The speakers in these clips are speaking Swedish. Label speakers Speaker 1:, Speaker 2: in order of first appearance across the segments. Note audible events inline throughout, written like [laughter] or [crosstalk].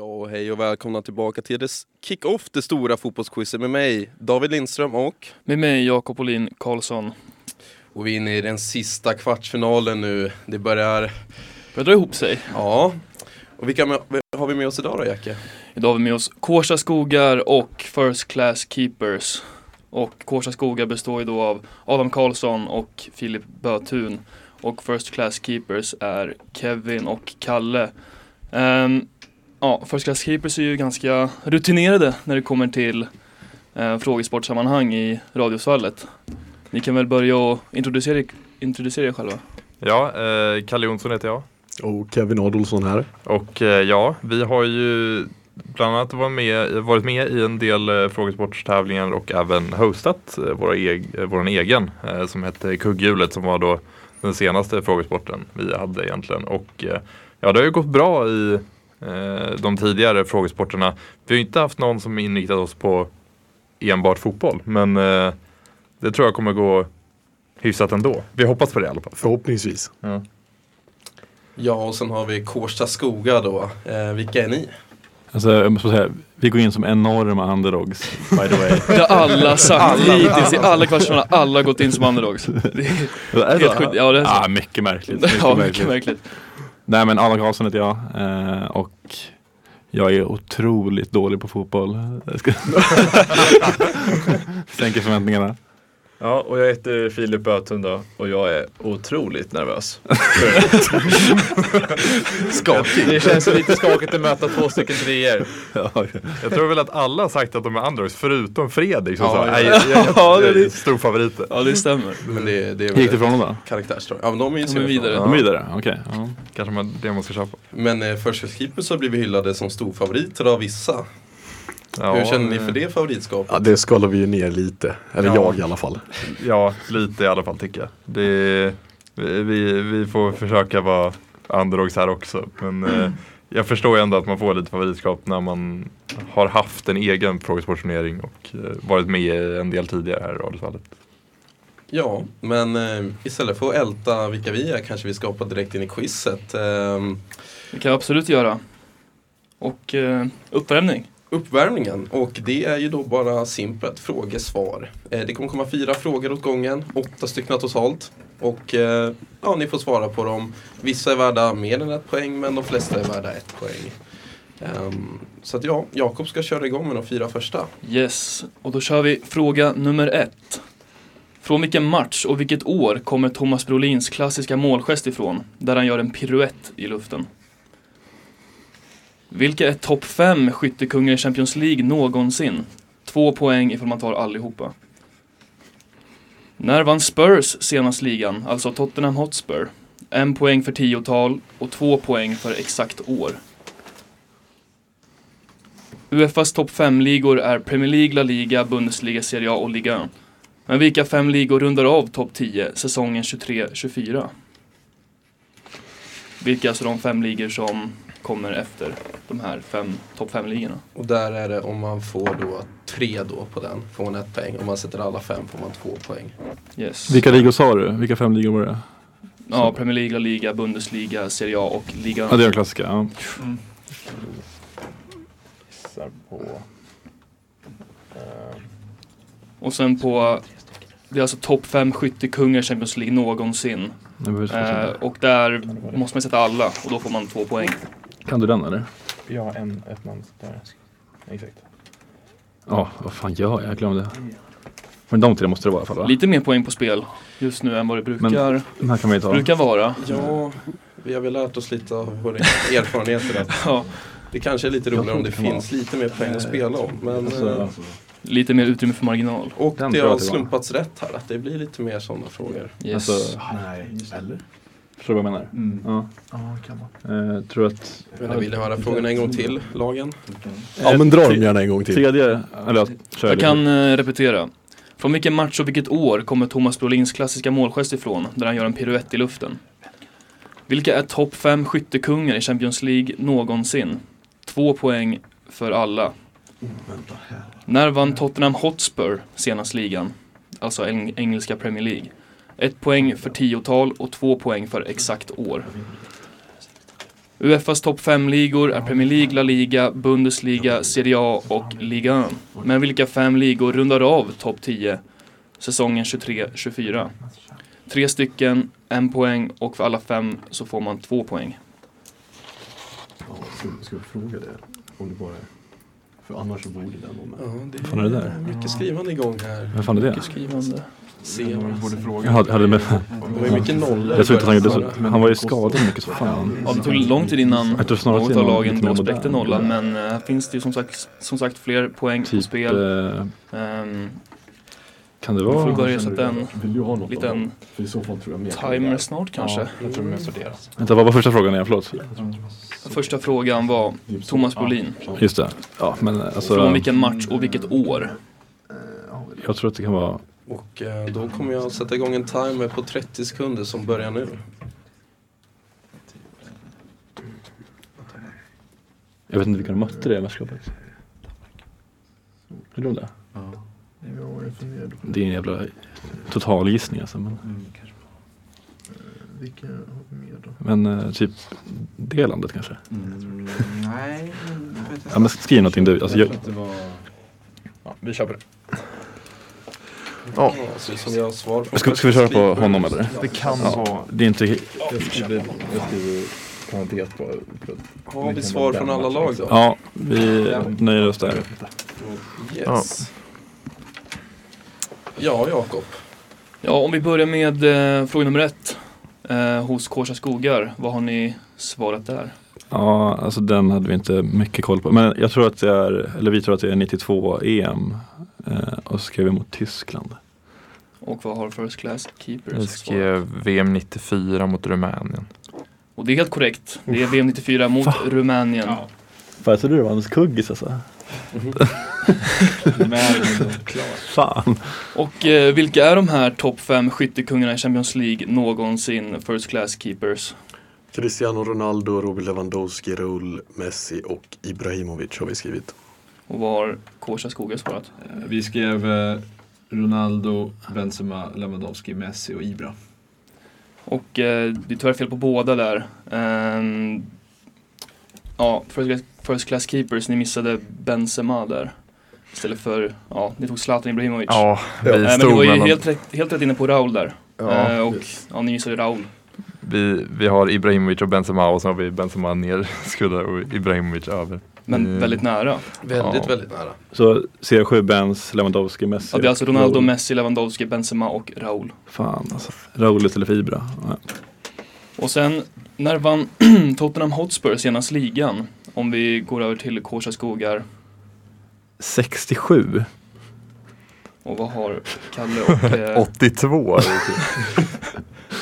Speaker 1: Och hej och välkomna tillbaka till det kick-off, det stora fotbollsquizet med mig, David Lindström och...
Speaker 2: Med mig Jakob Olin Karlsson.
Speaker 1: Och vi är inne i den sista kvartsfinalen nu. Det börjar...
Speaker 2: Börjar dra ihop sig.
Speaker 1: Ja. Och vilka med- har vi med oss idag då, Jacke?
Speaker 2: Idag har vi med oss Kårsta Skogar och First Class Keepers. Och Kårsta Skogar består ju då av Adam Karlsson och Filip Bötun. Och First Class Keepers är Kevin och Kalle. Ehm, ja, First Class Keepers är ju ganska rutinerade när det kommer till uh, frågesportsammanhang i Radiosvallet. Ni kan väl börja och introducera, introducera er själva.
Speaker 3: Ja, eh, Kalle Jonsson heter jag.
Speaker 4: Och Kevin Adolfsson här.
Speaker 3: Och eh, ja, vi har ju bland annat var med, varit med i en del eh, frågesportstävlingar och även hostat eh, våra eg, eh, våran egen eh, som hette Kugghjulet som var då den senaste frågesporten vi hade egentligen. Och eh, ja, det har ju gått bra i eh, de tidigare frågesporterna. Vi har ju inte haft någon som inriktat oss på enbart fotboll, men eh, det tror jag kommer gå hyfsat ändå. Vi hoppas på det i alla fall.
Speaker 4: Förhoppningsvis.
Speaker 1: Ja, och sen har vi Kårsta Skoga då. Eh, vilka är ni?
Speaker 5: Alltså jag måste säga, vi går in som enorma underdogs by the way.
Speaker 2: Det har alla sagt hittills i alla kvartsfinaler, alla har gått in som underdogs. Det är
Speaker 5: [laughs] Är
Speaker 2: helt sjukt. Ja, det är så.
Speaker 5: ah, mycket märkligt. [laughs]
Speaker 2: [laughs]
Speaker 5: Mycket
Speaker 2: Ja,
Speaker 5: märkligt.
Speaker 2: mycket märkligt.
Speaker 5: Nej men Adam Karlsson heter jag eh, och jag är otroligt dålig på fotboll.
Speaker 3: [laughs]
Speaker 5: Jag ska- Sänker förväntningarna.
Speaker 6: Ja, och jag heter Filip Bötun då och jag är
Speaker 3: [laughs]
Speaker 6: otroligt nervös.
Speaker 1: Skakig.
Speaker 6: Det känns lite skakigt att möta två stycken treor.
Speaker 3: Jag tror väl att alla har sagt att de är underdogs förutom Fredrik som
Speaker 1: Ja,
Speaker 3: sa
Speaker 1: ja.
Speaker 3: nej, jag,
Speaker 6: [laughs]
Speaker 3: jag,
Speaker 2: Ja, det är
Speaker 3: jag är
Speaker 2: det.
Speaker 3: stor favorit.
Speaker 2: Ja, det stämmer.
Speaker 1: Men det, det är
Speaker 5: Hur gick
Speaker 1: väl
Speaker 5: det från honom då?
Speaker 1: karaktärsdrag. Ja, men de är ju
Speaker 2: De är vidare.
Speaker 1: seriefavoriter.
Speaker 5: De är vidare? Okej. ja.
Speaker 3: Kanske man, det man ska köpa.
Speaker 1: Men eh, First Keepers har blivit hyllade som storfavoriter av vissa.
Speaker 3: Ja,
Speaker 1: Hur känner ni för det favoritskapet?
Speaker 4: Ja, det skalar vi ju ner lite. Eller
Speaker 3: Ja.
Speaker 4: jag i alla fall.
Speaker 3: Ja, lite i alla fall tycker jag. Det, vi- vi, vi får försöka vara underdogs här också. Men eh, jag förstår ju ändå att man får lite favoritskap när man har haft en egen frågesportturnering och eh, varit med i en del tidigare här i Radiosvallet.
Speaker 1: Ja, men eh, istället för att älta vilka vi är kanske vi ska hoppa direkt in i quizet. Ehm,
Speaker 2: Det kan jag absolut göra. Och eh, uppvärmning.
Speaker 1: Uppvärmningen och det är ju då bara simpelt frågesvar. Eh, Det kommer komma fyra frågor åt gången, åtta stycken totalt. Och eh, ja, ni får svara på dem. Vissa är värda mer än ett poäng men de flesta är värda ett poäng. Ehm, Så att ja, Jakob ska köra igång med de fyra första.
Speaker 2: Yes, och då kör vi fråga nummer ett. Från vilken match och vilket år kommer Thomas Brolins klassiska målgest ifrån, där han gör en piruett i luften? Vilka är topp fem skyttekungar i Champions League någonsin? Två poäng ifall man tar allihopa. När vann Spurs senast ligan, alltså Tottenham Hotspur? En poäng för tiotal och två poäng för exakt år. Uefas topp 5-ligor är Premier League, La Liga, Bundesliga, Serie A och Liga. Ö. Men vilka fem ligor rundar av topp 10 säsongen 23-24? Vilka är alltså de fem ligor som kommer efter de här fem topp 5-ligorna?
Speaker 1: Och där är det om man får då tre då på den, får man ett poäng. Om man sätter alla fem får man två poäng.
Speaker 2: Yes.
Speaker 5: Vilka ligor sa du? Vilka fem ligor var det?
Speaker 2: Ja, Premier League, La Liga, Bundesliga, Serie A och Liga.
Speaker 5: Ja det är de klassiska. Ja.
Speaker 2: Och sen på, det är alltså topp 5 skyttekungar i Champions League någonsin.
Speaker 5: Nu behöver vi
Speaker 2: Eh,
Speaker 5: fortsätta.
Speaker 2: och där måste man sätta alla och då får man två poäng.
Speaker 5: Kan du den eller?
Speaker 6: Ja, en, ett namn där. Exakt.
Speaker 5: Ja, vad fan gör jag? Jag glömde. Men de tre måste det vara i alla fall va?
Speaker 2: Lite mer poäng på spel just nu än vad det brukar,
Speaker 5: Den här kan man ju ta.
Speaker 2: brukar vara.
Speaker 1: Ja, vi har väl lärt oss lite av våra [laughs] erfarenheter. att
Speaker 2: Ja,
Speaker 1: Det kanske är lite roligare om det
Speaker 5: Jag tror det kan
Speaker 1: finns lite mer poäng att spela om. Men, eh,
Speaker 5: Alltså,
Speaker 2: lite mer utrymme för marginal.
Speaker 1: Och
Speaker 5: Den
Speaker 1: det
Speaker 5: tror jag
Speaker 1: har
Speaker 5: att det var.
Speaker 1: slumpats rätt här, att det blir lite mer sådana frågor.
Speaker 2: Yes.
Speaker 5: alltså,
Speaker 4: Nej, eller?
Speaker 5: förstår du vad jag menar? Ja. Eh, tror att
Speaker 1: Men jag vill höra frågorna en gång till, lagen.
Speaker 4: Ja, men dra dem gärna en gång till.
Speaker 5: tredje, eller jag kör
Speaker 2: Jag
Speaker 5: lite.
Speaker 2: kan eh, repetera. Från vilken match och vilket år kommer Thomas Brolins klassiska målgest ifrån, där han gör en piruett i luften? Vilka är topp 5 skyttekungar i Champions League någonsin? Två poäng för alla. När vann Tottenham Hotspur senast ligan? Alltså eng- engelska Premier League. Ett poäng för tiotal och två poäng för exakt år. Uefas topp 5-ligor är Premier League, La Liga, Bundesliga, Serie A och Ligan. Men vilka fem ligor rundar av topp 10 säsongen 23-24? Tre stycken, en poäng och för alla fem så får man två poäng.
Speaker 4: Ska, ska vi fråga det? Om det bara är... För annars så borde den vara med.
Speaker 1: det
Speaker 5: fan är det där?
Speaker 1: mycket skrivande igång här.
Speaker 5: Vem fan är det?
Speaker 1: Mycket skrivande. Se
Speaker 5: Jag hade, hade med,
Speaker 1: Det var ju mycket nollor.
Speaker 5: jag såg inte att han gjorde så. Han var ju skadad mycket så fan.
Speaker 2: Ja, det tog lång tid innan
Speaker 5: Jag tror snarare att
Speaker 2: något
Speaker 5: det är
Speaker 2: av
Speaker 5: någon
Speaker 2: lagen
Speaker 5: lite mer
Speaker 2: då spräckte
Speaker 5: modern.
Speaker 2: nollan, men eh, här finns det ju som sagt, som sagt fler poäng på
Speaker 5: Typ,
Speaker 2: spel.
Speaker 5: eh,
Speaker 2: Ehm,
Speaker 5: kan det
Speaker 2: Vi får
Speaker 5: vara...
Speaker 2: börja sätta en
Speaker 4: Vill du ha något av dem?
Speaker 2: liten
Speaker 4: För i så fall tror jag mer på det
Speaker 2: timer
Speaker 4: där.
Speaker 2: snart kanske.
Speaker 7: Jag
Speaker 1: Mm.
Speaker 7: tror de är studerat.
Speaker 5: Vänta, vad var första frågan igen? Förlåt.
Speaker 2: Första frågan var Thomas Bolin.
Speaker 5: Just det. Ja, men alltså.
Speaker 2: Från vilken match och vilket år?
Speaker 5: Jag tror att det kan vara...
Speaker 1: Och eh, då kommer jag sätta igång en timer på 30 sekunder som börjar nu.
Speaker 5: Jag vet inte vilka de mötte i det mästerskapet. Är de det? Det är en jävla total gissning alltså. Men,
Speaker 4: Mm,
Speaker 7: Vilka har vi mer då?
Speaker 5: men eh, typ det landet kanske.
Speaker 6: Mm,
Speaker 7: Nej, jag vet
Speaker 5: Ja men skriv någonting du. Alltså, jag,
Speaker 6: Ja, vi kör på det.
Speaker 1: Ja. Så som jag har svar på
Speaker 5: ska, ska vi köra på honom eller?
Speaker 6: Det kan
Speaker 5: Ja, det är inte...
Speaker 6: Jag skriver, jag skriver parentes på plus.
Speaker 1: Har vi svar från alla lag då?
Speaker 5: Ja, vi nöjer oss där.
Speaker 1: Yes. Ja, Jakob.
Speaker 2: Ja, om vi börjar med eh, fråga nummer ett. Eh, hos Kåsa Skogar, vad har ni svarat där?
Speaker 5: Ja, alltså den hade vi inte mycket koll på. Men jag tror att det är, eller vi tror att det är 92 EM. Eh, och så skrev vi mot Tyskland.
Speaker 2: Och vad har First Class Keepers
Speaker 3: Vi
Speaker 2: svarat?
Speaker 3: skrev VM 94 mot Rumänien.
Speaker 2: Och det är helt korrekt. Det är VM 94 mot Rumänien.
Speaker 5: Fan, jag trodde det var hans kuggis alltså. Fan.
Speaker 2: Och eh, vilka är de här topp fem skyttekungarna i Champions League någonsin? First Class Keepers.
Speaker 4: Cristiano Ronaldo, Robert Lewandowski, Raul, Messi och Ibrahimovic har vi skrivit.
Speaker 2: Och vad har Kåsa Skogar svarat?
Speaker 6: Vi skrev eh, Ronaldo, Benzema, Lewandowski, Messi och Ibra.
Speaker 2: Och eh, det är tyvärr fel på båda där. Ehm, ja, first class, first class keepers, ni missade Benzema där. Istället för, ja, ni tog Zlatan Ibrahimovic.
Speaker 3: Ja, vi
Speaker 2: Eh, men
Speaker 3: stod
Speaker 2: ni var ju
Speaker 3: mellan...
Speaker 2: helt rätt, helt rätt inne på Raul där.
Speaker 3: Ja,
Speaker 2: Eh, och ja, ni missade Raul.
Speaker 3: vi, vi har Ibrahimovic och Benzema och så har vi Benzema [laughs] nerskuddad och Ibrahimovic över.
Speaker 2: Men
Speaker 3: Mm.
Speaker 2: väldigt nära.
Speaker 1: Väldigt,
Speaker 3: Ja.
Speaker 1: väldigt nära.
Speaker 5: Så CR7, Benz, Lewandowski, Messi.
Speaker 2: Ja, det är alltså Ronaldo,
Speaker 5: Raul.
Speaker 2: Messi, Lewandowski, Benzema och Raul.
Speaker 5: Fan alltså. Raul istället för Ibra. Ja.
Speaker 2: Och sen, när vann [clears throat] Tottenham Hotspur senast ligan? Om vi går över till Kåsa Skogar.
Speaker 5: 67.
Speaker 2: Och vad har Kalle och...
Speaker 3: [laughs]
Speaker 2: eh,
Speaker 3: 82!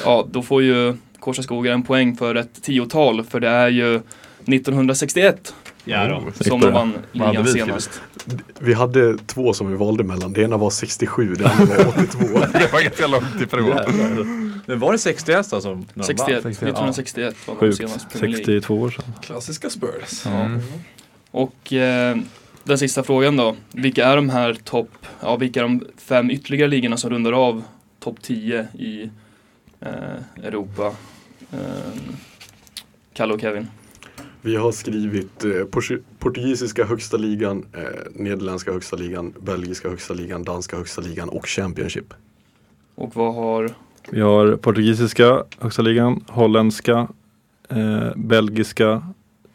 Speaker 2: Ja, då får ju Korsa Skogar en poäng för ett tiotal, för det är ju 1961
Speaker 5: Ja, då.
Speaker 2: som de vann
Speaker 3: hade
Speaker 2: ligan
Speaker 3: vi skrivit?
Speaker 2: senast.
Speaker 4: Vi hade två som vi valde mellan. Det ena var 67, det andra var 82.
Speaker 6: [laughs]
Speaker 3: det var ganska långt ifrån.
Speaker 6: Men var det 61 alltså? som när de
Speaker 2: 61,
Speaker 6: vann?
Speaker 2: 1961 var de senast
Speaker 5: Sjukt.
Speaker 2: Premier League.
Speaker 5: 62 år sedan.
Speaker 1: Klassiska Spurs.
Speaker 3: Mm.
Speaker 2: Och eh, den sista frågan då, vilka är de här topp, ja vilka är de fem ytterligare ligorna som rundar av topp 10 i eh, Europa? Eh, Kalle och Kevin.
Speaker 4: Vi har skrivit eh, portu- portugisiska högsta ligan, eh, nederländska högsta ligan, belgiska högsta ligan, danska högsta ligan och Championship.
Speaker 2: Och vad har,
Speaker 5: Vi har portugisiska högsta ligan, holländska, eh, belgiska,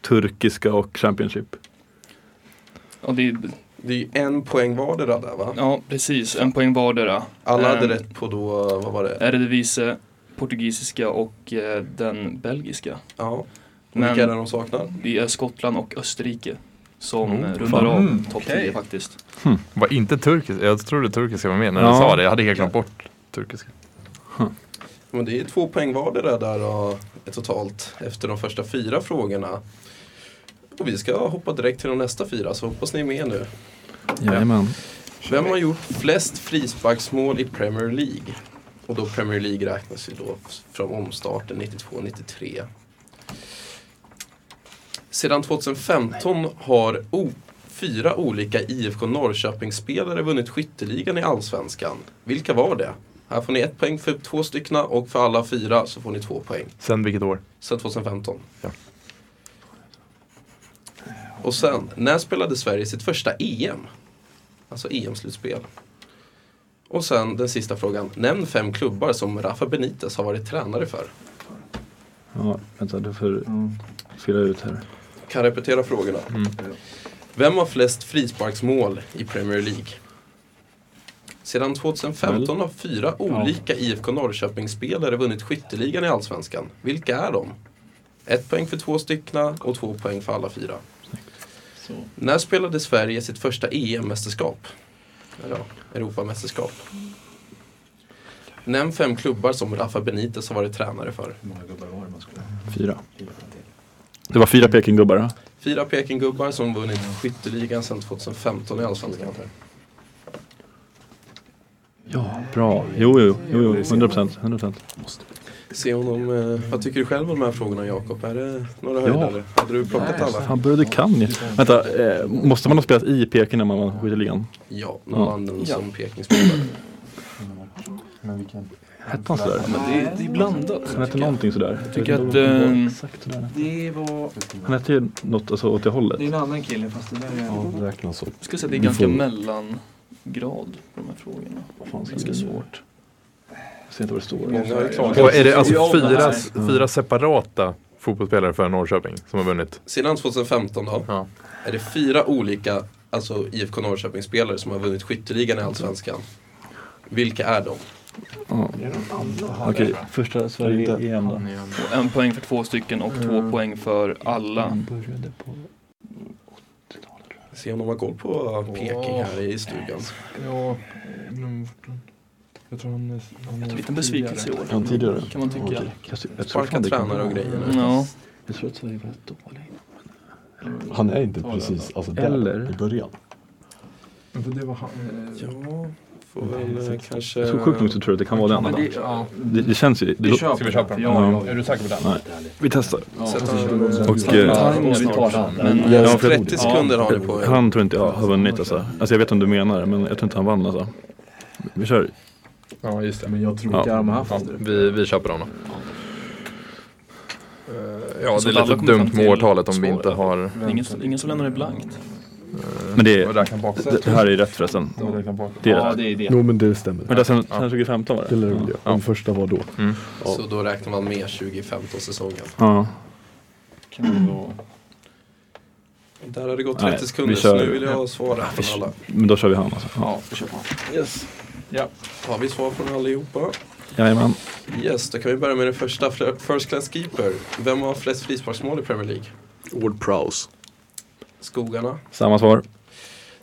Speaker 5: turkiska och Championship.
Speaker 2: ja, det är,
Speaker 1: Det är ju en poäng vardera där va?
Speaker 2: ja precis, en poäng vardera.
Speaker 1: Alla hade
Speaker 2: Ehm. Eh.
Speaker 1: rätt på då, vad var det?
Speaker 2: Eredivisie, portugisiska och eh, den belgiska.
Speaker 1: Ja.
Speaker 2: Men-
Speaker 1: Men... Vilka är det de saknar?
Speaker 2: Det är Skottland och Österrike som
Speaker 3: Oh,
Speaker 2: eh,
Speaker 3: fan.
Speaker 2: rundar av
Speaker 6: Mm,
Speaker 2: topp
Speaker 6: okej.
Speaker 2: 10 faktiskt.
Speaker 3: Var inte turkisk, jag trodde turkiska var med när
Speaker 5: Ja.
Speaker 3: jag sa det. Jag hade helt glömt bort turkiska.
Speaker 1: Men det är två poäng vardera där och totalt efter de första fyra frågorna. Och vi ska hoppa direkt till de nästa fyra, så hoppas ni är med nu.
Speaker 5: Jajamän.
Speaker 1: Vem har gjort flest frisparksmål i Premier League? Och då Premier League räknas ju då från omstarten 92-93. Sedan 2015 har o- fyra olika IFK Norrköping-spelare vunnit skytteligan i Allsvenskan. Vilka var det? Här får ni ett poäng för två styckna och för alla fyra så får ni två poäng.
Speaker 3: Sen vilket år?
Speaker 1: Sen 2015.
Speaker 3: Ja.
Speaker 1: Och sen, när spelade Sverige sitt första EM? Alltså EM-slutspel. Och sen den sista frågan. Nämn fem klubbar som Rafa Benitez har varit tränare för.
Speaker 5: Ja, vänta, du får fylla ut här.
Speaker 1: Kan repetera frågorna. Vem har flest frisparksmål i Premier League? Sedan 2015 har fyra olika IFK Norrköping-spelare vunnit skytteligan i Allsvenskan. Vilka är de? Ett poäng för två styckna och två poäng för alla fyra. När spelade Sverige sitt första EM-mästerskap? Eller ja, Europamästerskap. Nämn fem klubbar som Rafa Benitez har varit tränare för.
Speaker 7: Hur många gubbar var det man skulle ha?
Speaker 5: Fyra. Det var fyra Pekinggubbar va?
Speaker 1: Fyra Pekinggubbar som vunnit skytteligan sedan 2015 i Allsvenskan.
Speaker 5: Ja, bra. Jo, jo, jo, jo, 100 procent. 100 procent.
Speaker 1: Se om de, eh, vad tycker du själv om de här frågorna Jakob? Är det några
Speaker 5: Ja.
Speaker 1: höjdare? Hade du plockat alla?
Speaker 5: Fan, började du kan ju. Vänta, eh, måste man ha spelat i Peking när man vann skytteligan?
Speaker 1: Ja, någon
Speaker 5: Ja.
Speaker 1: annan som
Speaker 7: [clears throat]
Speaker 1: Pekingspelare.
Speaker 7: Men vilken?
Speaker 5: Hette han sådär?
Speaker 2: Men det, det är blandat.
Speaker 5: Han hette någonting sådär. Jag
Speaker 2: tycker att, eh,
Speaker 5: Exakt sådär.
Speaker 7: Det var...
Speaker 5: Han hette ju något alltså, åt det
Speaker 7: Det är
Speaker 5: hållet.
Speaker 7: en annan kille fast det där är...
Speaker 8: Ja, räknas så.
Speaker 2: Jag skulle säga att det är
Speaker 5: Vi
Speaker 2: ganska
Speaker 5: får-
Speaker 2: mellangrad på de här frågorna.
Speaker 5: Fan, ska
Speaker 2: Ganska
Speaker 5: vi-
Speaker 2: svårt.
Speaker 5: Jag ser inte vad det står.
Speaker 1: Många har ju
Speaker 3: Och är
Speaker 1: klagat.
Speaker 3: det alltså
Speaker 2: Ja,
Speaker 3: fyra,
Speaker 2: nej.
Speaker 3: fyra separata fotbollsspelare för Norrköping som har vunnit?
Speaker 1: Sedan 2015 då,
Speaker 3: Ja.
Speaker 1: är det fyra olika alltså IFK Norrköping-spelare som har vunnit skytteligan i Allsvenskan. Vilka är de?
Speaker 5: Okej, första Sverige EM då.
Speaker 2: Och en poäng för två stycken och två
Speaker 7: Mm.
Speaker 2: poäng för alla.
Speaker 5: Han började på...
Speaker 1: Se om de har koll på Peking här i stugan.
Speaker 8: Ja, glöm bort den. Jag tror han är... Han
Speaker 2: En liten besvikelse i år.
Speaker 5: Han tidigare?
Speaker 2: Kan man tycka.
Speaker 5: Okej. Jag tror- jag tror
Speaker 1: Sparka
Speaker 5: fan det kan-
Speaker 1: tränare och grejer. nu.
Speaker 5: Mm.
Speaker 2: Ja.
Speaker 5: Jag tror att Sverige var rätt dålig.
Speaker 8: Han är inte precis alltså, där
Speaker 5: Eller?
Speaker 8: i början.
Speaker 7: Men för det var han...
Speaker 1: Ja, får väl eh, kanske...
Speaker 5: Jag tror sjukt nog så tror jag att det kan vara den.
Speaker 7: det, ja.
Speaker 5: Det, det känns ju... Det, lå-
Speaker 3: Ska vi köpa den?
Speaker 5: Ja, ja.
Speaker 3: Är du säker på den?
Speaker 5: vi testar.
Speaker 8: Och,
Speaker 5: eh,
Speaker 2: vi
Speaker 8: tar
Speaker 2: Men
Speaker 8: Jag-
Speaker 5: Ja, för jag-
Speaker 1: 30 sekunder har ni på er.
Speaker 5: Han tror inte jag har vunnit alltså. Alltså jag vet om du menar det, men jag tror inte han vann alltså. Vi kör.
Speaker 3: Ja, just det.
Speaker 7: Men jag tror
Speaker 5: Ja.
Speaker 7: inte han har haft
Speaker 3: Ja,
Speaker 7: det.
Speaker 3: vi, vi köper dem då. Eh, Ja,
Speaker 2: Så
Speaker 3: det är
Speaker 2: alla
Speaker 3: lite
Speaker 2: kommer fram
Speaker 3: dumt med
Speaker 2: till
Speaker 3: årtalet om vi
Speaker 2: svåra.
Speaker 3: inte har...
Speaker 2: ingen, som- ingen som lämnar det blankt.
Speaker 5: Men det, är-
Speaker 3: Räkna bak.
Speaker 5: det, det här är ju rätt förresten. Det är
Speaker 7: Ja,
Speaker 5: rätt.
Speaker 7: det är det.
Speaker 8: Jo men det stämmer.
Speaker 5: Men det sen, sen 2015 var
Speaker 8: Det
Speaker 5: det?
Speaker 8: lär väl göra.
Speaker 3: Ja.
Speaker 8: Den första var då.
Speaker 1: Så då räknar man med 2015-säsongen.
Speaker 5: Ja.
Speaker 7: Kan det vara...
Speaker 1: Där har det gått
Speaker 5: Nej,
Speaker 1: 30 sekunder
Speaker 5: vi kör.
Speaker 1: så nu vill jag ha svara från alla.
Speaker 5: Men då kör vi han alltså. Ja.
Speaker 7: Ja, vi kör på.
Speaker 1: Har vi svar från allihopa?
Speaker 5: Jajamän.
Speaker 1: Yes, då kan vi börja med den första. Fl- First class keeper. Vem har flest frisparksmål i Premier League?
Speaker 4: Ward Prowse.
Speaker 1: Skogarna.
Speaker 5: Samma svar.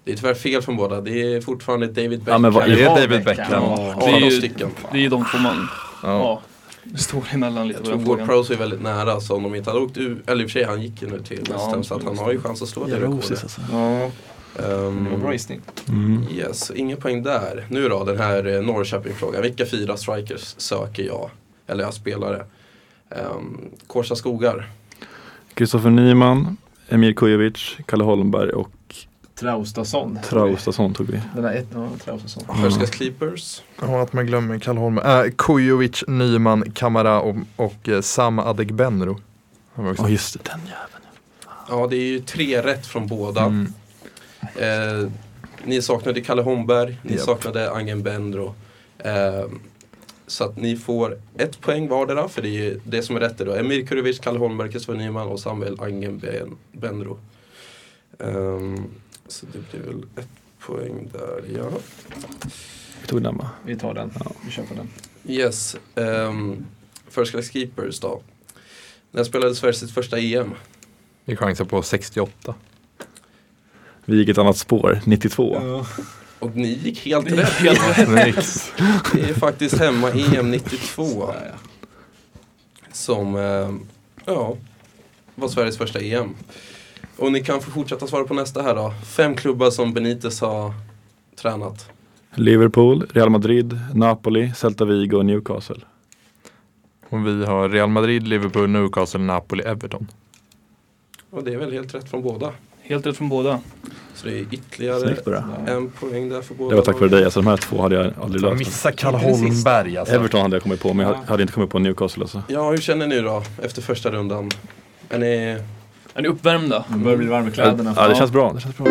Speaker 1: Det är tyvärr fel från båda. Det är fortfarande David Beckham.
Speaker 5: Ja, men vad-
Speaker 3: Det är
Speaker 5: Ja,
Speaker 3: David Beckham.
Speaker 2: Det är
Speaker 1: 18
Speaker 2: ju
Speaker 1: stycken.
Speaker 2: det är ju de två man...
Speaker 3: Ja.
Speaker 2: Ja. Det står emellan lite
Speaker 1: Jag
Speaker 2: på
Speaker 1: tror
Speaker 2: den
Speaker 1: Ward
Speaker 2: frågan.
Speaker 1: Prowse är väldigt nära, så om de inte hade åkt ur, eller i och för sig han gick ju nu till West Ham, så att han har ju chans att slå det rekordet.
Speaker 5: alltså.
Speaker 7: Ja, det var
Speaker 1: Ehm,
Speaker 7: bra gissning.
Speaker 5: Mm.
Speaker 1: Yes, inga poäng där. Nu då, den här eh, Norrköping-frågan. Vilka fyra strikers söker jag? Eller jag spelare. Um, Kårsta Skogar.
Speaker 5: Kristoffer Nyman, Emir Kujovic, Kalle Holmberg och
Speaker 7: Traustason.
Speaker 5: Traustason tog vi.
Speaker 7: Den där ett... Ja, Traustason.
Speaker 1: First
Speaker 3: Mm.
Speaker 1: class Clippers.
Speaker 3: Ja, att man glömmer Kalle Holm. Äh, Kujovic, Nyman, Kamara och, och eh, Sam Adegbenro. Han var också-
Speaker 5: Ja just det, den jäveln.
Speaker 1: Ja, det är ju tre rätt från båda.
Speaker 3: Mm.
Speaker 1: Eh, ni saknade Kalle Holmberg, ni
Speaker 3: Japp.
Speaker 1: saknade Angen Bendro. Eh, så att ni får ett poäng vardera, för det är ju det som är rätt. är Då. Emir Kurovic, Kalle Holmberg, Kristoffer Nyman och Samuel Angen Ben- Bendro. Ehm, så det blir väl ett poäng där, ja.
Speaker 5: Vi tog den va?
Speaker 7: Vi tar den. Vi kör på den.
Speaker 1: Yes. Um, First class keepers då. När spelade Sverige sitt första E EM?
Speaker 3: Vi chansar på 68.
Speaker 5: Vi gick ett annat spår, 92.
Speaker 1: Och ni gick helt rätt. [laughs]
Speaker 7: [laughs]
Speaker 3: Snyggt.
Speaker 1: Det är faktiskt hemma EM 92. Som, eh, ja, var Sveriges första EM. Och ni kan få fortsätta svara på nästa här då. Fem klubbar som Benitez har tränat.
Speaker 5: Liverpool, Real Madrid, Napoli, Celta Vigo och Newcastle.
Speaker 3: Och vi har Real Madrid, Liverpool, Newcastle, Napoli, Everton.
Speaker 1: Och det är väl helt rätt från båda.
Speaker 2: Helt rätt från båda.
Speaker 1: Så det är ytterligare
Speaker 5: Snyggt bara.
Speaker 1: en poäng där för båda.
Speaker 5: Det var tack vare
Speaker 1: lagen.
Speaker 5: dig, alltså de här två hade jag aldrig
Speaker 3: Jag
Speaker 5: löst.
Speaker 3: missar Kalle Holmberg alltså.
Speaker 5: Everton hade jag kommit på, men jag hade inte kommit på Newcastle alltså.
Speaker 1: Ja, hur känner ni då efter första rundan? Är ni,
Speaker 2: Är ni uppvärmda?
Speaker 7: Man Mm. börjar bli varm i kläderna.
Speaker 5: Ja, det känns bra. Det känns bra.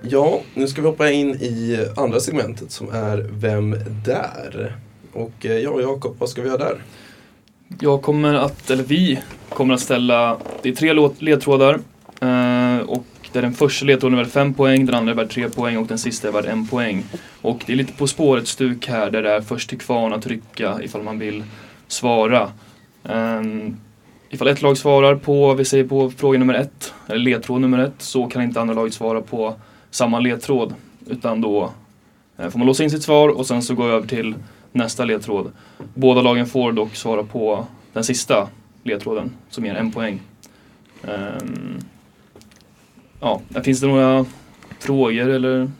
Speaker 1: Ja, nu ska vi hoppa in i andra segmentet som är Vem där? Och eh, ja, Jakob, vad ska vi göra där?
Speaker 2: Jag kommer att, eller vi kommer att ställa, det är tre låt- ledtrådar. Eh, och där den första ledtråden är värd 5 poäng, den andra är värd 3 poäng och den sista är värd 1 poäng. Och det är lite På spåret-stuk här där det är först till kvarn att trycka ifall man vill svara. Eh, ifall ett lag svarar på, vi säger på fråga nummer ett, eller ledtråd nummer ett, så kan inte andra laget svara på samma ledtråd. Utan då eh, får man låsa in sitt svar och sen så går jag över till nästa ledtråd. Båda lagen får dock svara på den sista ledtråden som ger en poäng. Ehm, ja, finns det några frågor eller?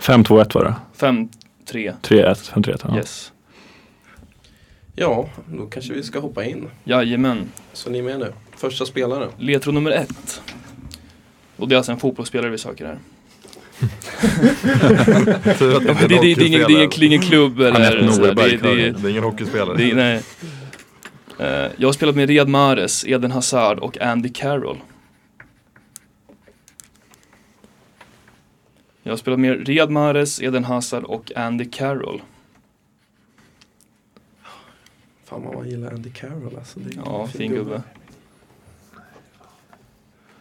Speaker 5: 5-2-1 var det.
Speaker 2: 5-3.
Speaker 5: 3-1, 5-3. Ja.
Speaker 2: Yes.
Speaker 1: Ja, då kanske vi ska hoppa in.
Speaker 2: Jajamän.
Speaker 1: Så ni är med nu. Första spelaren.
Speaker 2: Ledtråd nummer ett. Och det är alltså en fotbollsspelare vi söker här.
Speaker 3: Tur att
Speaker 2: Det, det, det,
Speaker 3: är en
Speaker 2: är ingen, det är ingen,
Speaker 3: hockeyspelare.
Speaker 2: ingen klubb eller
Speaker 3: Anette
Speaker 2: sådär.
Speaker 3: Norberg,
Speaker 2: Det, det,
Speaker 3: det är ingen hockeyspelare.
Speaker 5: [laughs]
Speaker 2: det, nej. Eh, jag har spelat med Riyad Mahrez, Eden Hazard och Andy Carroll. Jag har spelat med Riyad Mahrez, Eden Hazard och Andy Carroll.
Speaker 1: Fan vad man gillar Andy Carroll alltså. Det är
Speaker 2: Ja,
Speaker 1: en
Speaker 2: fin gubbe.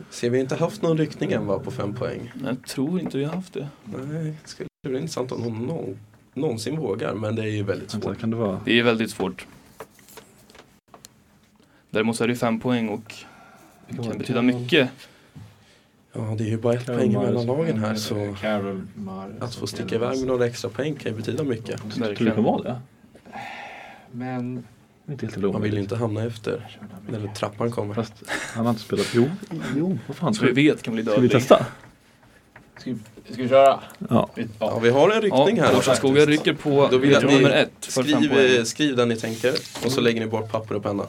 Speaker 1: Ser vi har inte haft någon ryckning än va, på fem poäng?
Speaker 2: Men jag tror inte vi har haft det.
Speaker 1: Nej, det skulle bli intressant om någon någon- någonsin vågar. Men det är ju väldigt
Speaker 5: Vänta,
Speaker 1: svårt.
Speaker 5: kan det vara?
Speaker 2: Det är väldigt svårt. Däremot så är det ju fem poäng och det kan betyda mycket.
Speaker 1: Ja, det är ju bara ett poäng mellan lagen här så
Speaker 7: Carol Mares.
Speaker 1: att få sticka iväg med några extra poäng kan ju betyda mycket.
Speaker 5: Jag tror det kan vara det.
Speaker 7: Men...
Speaker 5: Det är Inte helt
Speaker 1: Man vill ju
Speaker 5: olagligt.
Speaker 1: inte hamna efter när trappan kommer.
Speaker 5: Fast han har inte spelat. Jo, jo, vad fan.
Speaker 2: Så vi
Speaker 5: Ska vi,
Speaker 2: vet kan bli
Speaker 5: ska vi
Speaker 2: dödlig.
Speaker 5: testa?
Speaker 7: Ska vi, ska vi köra?
Speaker 5: Ja.
Speaker 1: Ja, vi har en
Speaker 2: Ja,
Speaker 1: ryckning här.
Speaker 2: Årstaskogar rycker på
Speaker 1: Då vill jag att
Speaker 2: ledtråd
Speaker 1: ni
Speaker 2: nummer ett för fem
Speaker 1: Skriv,
Speaker 2: poäng.
Speaker 1: eh, skriv där ni tänker och
Speaker 2: Mm.
Speaker 1: så lägger ni bort papper och penna.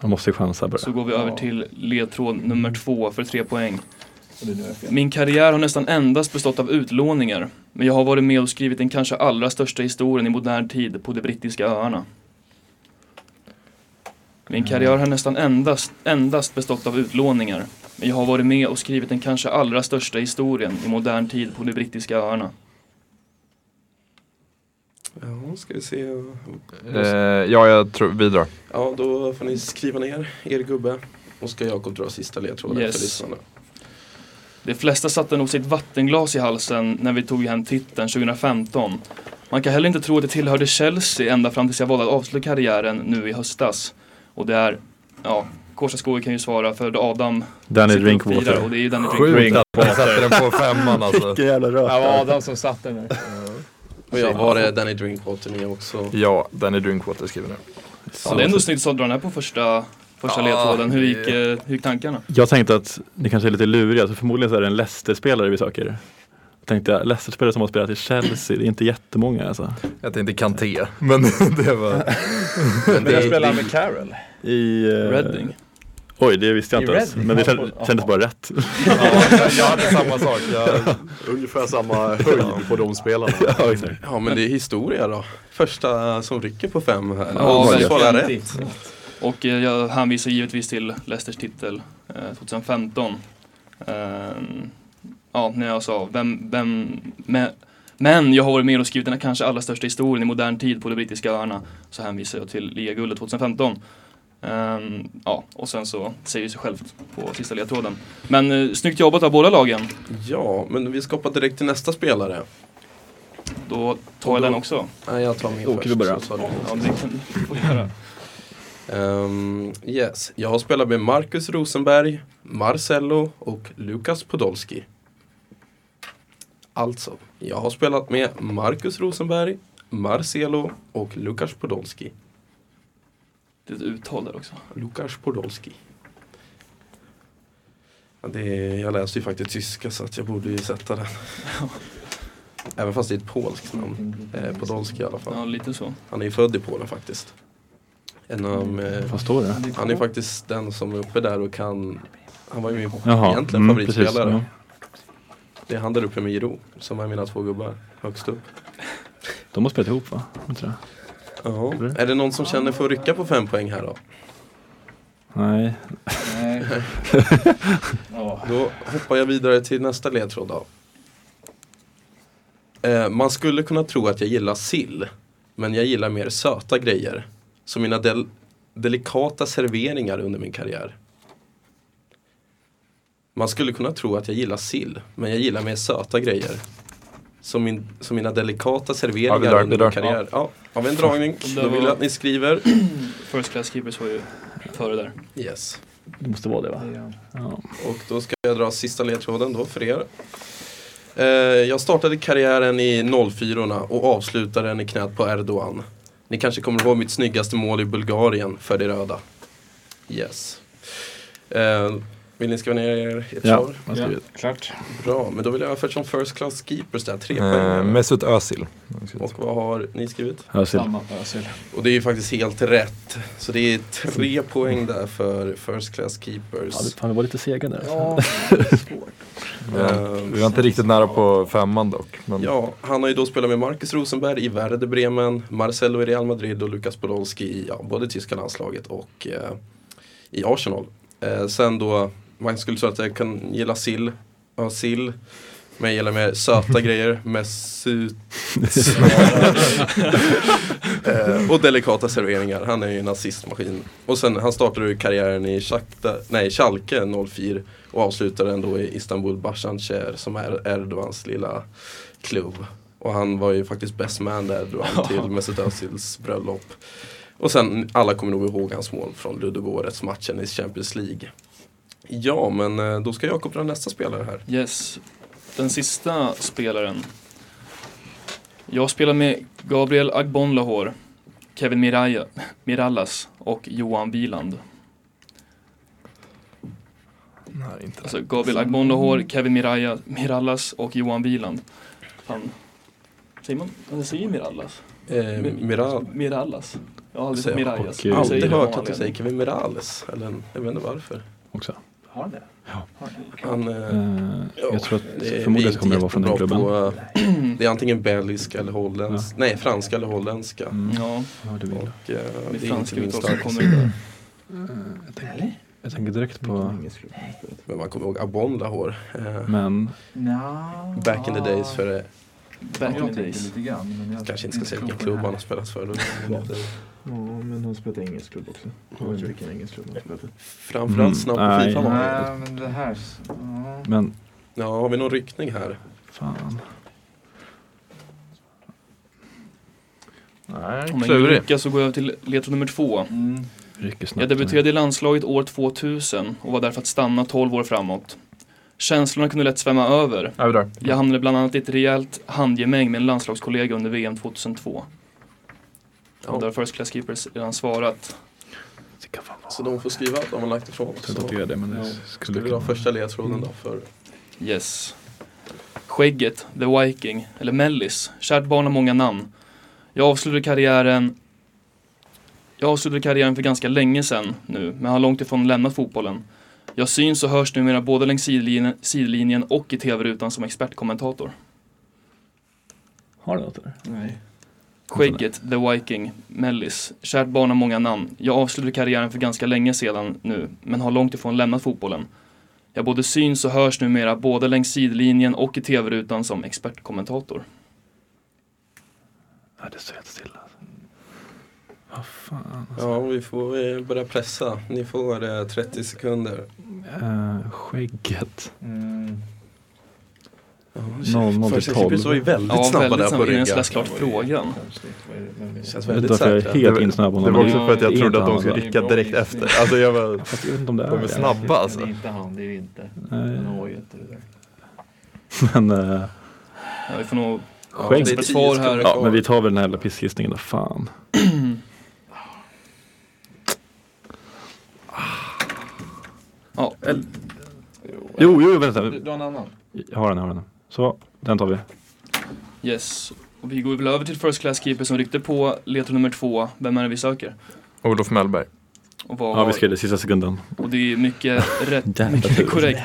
Speaker 5: Man måste ju chansa på det.
Speaker 2: Så går vi över till ledtråd nummer två för tre poäng.
Speaker 7: Och det är nu jag fel.
Speaker 2: Min karriär har nästan endast bestått av utlåningar, men jag har varit med och skrivit den kanske allra största historien i modern tid på de brittiska öarna.
Speaker 7: Mm.
Speaker 2: Min karriär har nästan endast, endast bestått av utlåningar, men jag har varit med och skrivit den kanske allra största historien i modern tid på de brittiska öarna.
Speaker 1: Ja, ska vi se.
Speaker 3: Eh, ja, jag tror, vi drar.
Speaker 1: Ja, då får ni skriva ner er gubbe. Och ska Jakob dra sista ledtråden
Speaker 2: Yes.
Speaker 1: för lyssnarna.
Speaker 2: De flesta satte nog sitt vattenglas i halsen när vi tog hem titeln 2015. Man kan heller inte tro att det tillhörde Chelsea ända fram tills jag valde att avsluta karriären nu i höstas. Och det är, ja, Kårstaskogen kan ju svara för Adam
Speaker 5: Danny
Speaker 2: sitter och firar
Speaker 5: Drinkwater.
Speaker 2: och det är ju Danny
Speaker 3: Sjukt
Speaker 2: Drinkwater.
Speaker 3: att man sätter den på femman alltså.
Speaker 5: Vilken jävla
Speaker 6: Det
Speaker 5: röst.
Speaker 6: var Adam som satte den här.
Speaker 1: Och jag har eh, Danny Drinkwater ni [laughs] också.
Speaker 3: Ja, den är Drinkwater skriver nu.
Speaker 2: Ja, det är ändå snyggt att dra den här på första, första
Speaker 3: Ja,
Speaker 2: ledtråden. Hur gick,
Speaker 3: det-
Speaker 2: eh, hur gick tankarna?
Speaker 5: Jag tänkte att ni kanske är lite luriga, så förmodligen så är det en Leicester-spelare vi söker. Jag tänkte jag, Leicester-spelare som har spelat i Chelsea, det är inte jättemånga alltså.
Speaker 3: Jag tänkte Kanté, men [laughs] det var...
Speaker 6: Men jag spelar med Carol.
Speaker 5: I... eh,
Speaker 2: Reading.
Speaker 5: Oj, det visste jag inte
Speaker 6: I
Speaker 5: ens.
Speaker 6: Reading?
Speaker 5: Men det
Speaker 6: Ja,
Speaker 5: kändes,
Speaker 6: på-
Speaker 5: kändes bara rätt.
Speaker 3: Jag hade samma sak.
Speaker 2: [laughs]
Speaker 3: Jag,
Speaker 4: Ungefär samma höjd på de spelarna.
Speaker 5: ja, exakt.
Speaker 1: Ja, men det är historia då. Första som rycker på fem här.
Speaker 2: Ja,
Speaker 1: Och så
Speaker 2: verkligen.
Speaker 1: svarar rätt.
Speaker 2: Och eh, jag hänvisar givetvis till Leicesters titel eh, 2015. Ehm, ja, när jag sa vem, vem, men, men jag har varit med och skrivit den här kanske allra största historien i modern tid på de brittiska öarna. Så hänvisar jag till ligaguldet 2015. Ehm, ja, och sen så säger det sig självt på sista ledtråden. Men eh, snyggt jobbat av båda lagen.
Speaker 1: Ja, men vi ska hoppa direkt till nästa spelare.
Speaker 2: Då tar jag den också.
Speaker 1: Nej, jag tar min
Speaker 5: Åker
Speaker 1: först.
Speaker 5: vi bara?
Speaker 1: så tar du min.
Speaker 2: Ja, det kan du få göra.
Speaker 1: Ehm, yes, jag har spelat med Marcus Rosenberg, Marcello och Lukas Podolski. Alltså, jag har spelat med Marcus Rosenberg, Marcelo och Lukas Podolski.
Speaker 2: Det är ett uttal där också.
Speaker 1: Lukas Podolski. Ja, det är, jag läste ju faktiskt tyska så att jag borde ju sätta den. Även fast det är ett polskt namn. Eh, Podolski i alla fall.
Speaker 2: Ja, lite så.
Speaker 1: Han är ju född i Polen faktiskt. En av de, eh,
Speaker 5: Vad står det?
Speaker 1: Han är faktiskt den som är uppe där och kan Han var ju min
Speaker 5: Jaha,
Speaker 1: egentligen
Speaker 5: mm, precis.
Speaker 1: favoritspelare.
Speaker 5: Ja.
Speaker 1: Det är han där uppe med Giro som är mina två gubbar högst upp.
Speaker 5: De har spelat ihop va? Inte det?
Speaker 1: Ja. Är det någon som känner för att rycka på fem poäng här då?
Speaker 5: Nej,
Speaker 7: Nej. Ja.
Speaker 1: Då hoppar jag vidare till nästa ledtråd då. Eh, man skulle kunna tro att jag gillar sill, men jag gillar mer söta grejer. Så mina del- delikata serveringar under min karriär. Man skulle kunna tro att jag gillar sill, men jag gillar mer söta grejer. Som, min, som mina delikata serveringar
Speaker 3: vi drar-
Speaker 1: under
Speaker 3: vi
Speaker 1: min
Speaker 3: drar.
Speaker 1: karriär. Ja, har vi en dragning?
Speaker 2: Det
Speaker 1: Då vill
Speaker 2: var-
Speaker 1: jag att ni skriver.
Speaker 2: First Class Keepers var ju före där.
Speaker 1: Yes.
Speaker 5: det måste vara det va? Ja.
Speaker 1: Och då ska jag dra sista ledtråden då för er. Eh, jag startade karriären i 04 och avslutade den i knät på Erdogan. Ni kanske kommer ihåg mitt snyggaste mål i Bulgarien för de röda. Yes. Eh, vill ni skriva ner er ert
Speaker 5: Ja,
Speaker 1: svar?
Speaker 5: vad ska vi-
Speaker 7: Klart.
Speaker 1: Bra, men då vill jag ha först som first class keepers där, tre
Speaker 3: Eh,
Speaker 1: poäng.
Speaker 3: Mesut Özil.
Speaker 1: Och vad har ni skrivit?
Speaker 5: Özil.
Speaker 7: Samma Özil.
Speaker 1: Och det är ju faktiskt helt rätt. Så det är tre poäng där för first class keepers.
Speaker 5: Ja, det- fan, det var lite sega där.
Speaker 3: [laughs]
Speaker 7: Ja, det är svårt.
Speaker 3: Eh, Vi var inte riktigt nära på femman dock. Men
Speaker 1: Ja, han har ju då spelat med Marcus Rosenberg i Werder Bremen, Marcelo i Real Madrid och Lukas Podolski i ja, både tyska landslaget och eh, i Arsenal. Eh, sen då, man skulle säga att jag kan gilla sill, ja sill, men jag gillar mer söta grejer, Mesut eh, och delikata serveringar. Han är ju en nazistmaskin. Och sen, han startade ju karriären i Shakhtar, nej, Schalke 04 och avslutade den då i Istanbul Bashansehir som är Erdogans lilla klubb. Och han var ju faktiskt best man där Erdogan till Mesut Özils bröllop. Och sen, alla kommer nog ihåg hans mål från Ludogorets-matchen i Champions League. Ja, men eh, då ska Jakob dra nästa spelare här.
Speaker 2: Yes. Den sista spelaren. Jag spelar med Gabriel Agbon Lahore, Kevin Miraya, Mirallas och Johan Wieland.
Speaker 3: Nej, inte
Speaker 2: Alltså Gabriel Agbon Lahore, Kevin Miraya, Mirallas och Johan Wieland. Han... Säger man? Han säger Mirallas.
Speaker 1: Eh, Miral.
Speaker 2: Mirallas. Jag har aldrig
Speaker 1: Säger
Speaker 2: sett
Speaker 1: jag.
Speaker 2: Mirallas.
Speaker 5: Och, eh,
Speaker 2: Jag säger
Speaker 1: Aldrig
Speaker 2: det av
Speaker 1: hört att du
Speaker 2: anledning.
Speaker 1: säger Kevin Mirales. Eller, en- jag vet inte varför.
Speaker 5: Också.
Speaker 7: Har han det?
Speaker 5: Ja.
Speaker 7: Har han det?
Speaker 1: Han, eh,
Speaker 5: Eh,
Speaker 1: ja,
Speaker 5: jag tror att
Speaker 1: det- vi är inte
Speaker 5: förmodligen så kommer det vara från den
Speaker 1: jättebra
Speaker 5: klubben.
Speaker 1: på, eh, [clears throat] det är antingen belgisk eller holländsk. Nej, franska eller holländska.
Speaker 5: Mm.
Speaker 2: Ja,
Speaker 5: Ja, det vill. jag.
Speaker 1: Och, eh,
Speaker 2: det
Speaker 1: det
Speaker 2: är
Speaker 1: är inte
Speaker 2: franska
Speaker 1: min
Speaker 2: uttal som
Speaker 1: starkaste.
Speaker 2: kommer där.
Speaker 5: Jag tänker direkt på
Speaker 1: Men man kommer ihåg Abon Lahore. Eh,
Speaker 5: män.
Speaker 7: Nja.
Speaker 1: back in the days för eh,
Speaker 2: Back in
Speaker 7: Jag
Speaker 2: the
Speaker 7: tänkte
Speaker 2: days.
Speaker 7: lite grann. Men jag
Speaker 1: kanske inte ska säga vilken
Speaker 7: på
Speaker 1: klubb
Speaker 7: den
Speaker 1: han
Speaker 7: här.
Speaker 1: har spelat för. Då.
Speaker 8: Ja, men han spelat i engelsk klubb också. Jag vet inte vilken engelsk klubb han spelat i.
Speaker 1: Framförallt snabb på
Speaker 5: Mm,
Speaker 1: Fifa. var han.
Speaker 7: Nej, men det här... Ja.
Speaker 5: Men
Speaker 1: Ja, har vi någon ryckning här?
Speaker 5: fan.
Speaker 3: Nej,
Speaker 2: Om jag inte
Speaker 3: klurig.
Speaker 2: lyckas så går jag över till ledtråd nummer två.
Speaker 7: Mm.
Speaker 5: Rycker snabbt.
Speaker 2: Jag debuterade i landslaget år 2000 och var där för att stanna 12 år framåt. Känslorna kunde lätt svämma över.
Speaker 3: Ja, vi drar.
Speaker 2: Jag hamnade bland annat i ett rejält handgemäng med en landslagskollega under VM 2002. Och där har First Class Keepers redan svarat.
Speaker 5: Det kan fan vara.
Speaker 1: Så de får skriva att de har lagt ifrån
Speaker 5: Jag
Speaker 1: oss.
Speaker 5: tror inte att det är det men det
Speaker 1: Ja.
Speaker 5: skulle
Speaker 1: Skulle vi ha
Speaker 5: kunna. Mm.
Speaker 1: första ledtråden då? För
Speaker 2: Yes. Skägget, The Viking, eller Mellis. Kärt barn har många namn. Jag avslutade karriären jag avslutade karriären för ganska länge sedan nu, men har långt ifrån lämnat fotbollen. Jag syns och hörs numera både längs sidlinjen, sidlinjen och i tv-rutan som expertkommentator.
Speaker 5: Har du något där?
Speaker 7: Nej.
Speaker 2: Skägget, The Viking, Mellis. Kärt barn har många namn. Jag avslutade karriären för ganska länge sedan nu, men har långt ifrån lämnat fotbollen. Jag både syns och hörs numera både längs sidlinjen och i tv-rutan som expertkommentator.
Speaker 5: Nej det står helt stilla. alltså. Vad fan.
Speaker 1: Ja, vi får eh, börja pressa. Ni får eh, 30 sekunder.
Speaker 5: Eh, skägget.
Speaker 7: Mm.
Speaker 5: Noll, noll till
Speaker 1: Första Keepers
Speaker 5: tolv.
Speaker 1: var ju väldigt snabba
Speaker 2: väldigt
Speaker 1: där på
Speaker 2: snabbt innan
Speaker 1: ryggen.
Speaker 2: jag ens läst klart frågan.
Speaker 7: Konstigt. Vad är det? Vem är det?
Speaker 1: Känns
Speaker 5: Jag vet
Speaker 1: väldigt
Speaker 5: inte varför jag
Speaker 1: säkra.
Speaker 5: är helt insnöad på
Speaker 3: Det
Speaker 5: honom.
Speaker 3: var
Speaker 5: men
Speaker 3: också för att jag
Speaker 5: det är
Speaker 3: trodde
Speaker 5: inte
Speaker 3: att de
Speaker 5: han,
Speaker 3: skulle
Speaker 5: va?
Speaker 3: rycka direkt efter. Alltså jag var...
Speaker 5: Fast jag vet inte om det är
Speaker 3: De är
Speaker 5: det.
Speaker 3: snabba.
Speaker 7: Det är
Speaker 3: alltså.
Speaker 7: inte han, det är det inte. Han
Speaker 5: Nej,
Speaker 7: har ju inte det där.
Speaker 5: men, eh,
Speaker 2: Ja, vi får nog...
Speaker 1: Ja,
Speaker 5: Skägg.
Speaker 1: det är
Speaker 2: Ett
Speaker 1: 10
Speaker 2: svar
Speaker 1: sekunder
Speaker 2: här.
Speaker 5: ja,
Speaker 1: kvar.
Speaker 5: men vi tar väl den här jävla pissgissningen då. Fan.
Speaker 2: Ja,
Speaker 5: Jo, jo, vänta.
Speaker 7: Du, du har en annan.
Speaker 5: Jag har den, jag har den. Så, den tar vi.
Speaker 2: yes. Och vi går väl över till First Class Keeper som ryckte på ledtråd nummer två. Vem är det vi söker?
Speaker 3: Olof Mellberg.
Speaker 2: Och, vad
Speaker 5: Ja,
Speaker 2: har-
Speaker 5: vi skrev det sista sekunden.
Speaker 1: [laughs]
Speaker 2: och det är mycket rätt,
Speaker 5: Jävla
Speaker 2: mycket
Speaker 5: tur.
Speaker 2: korrekt.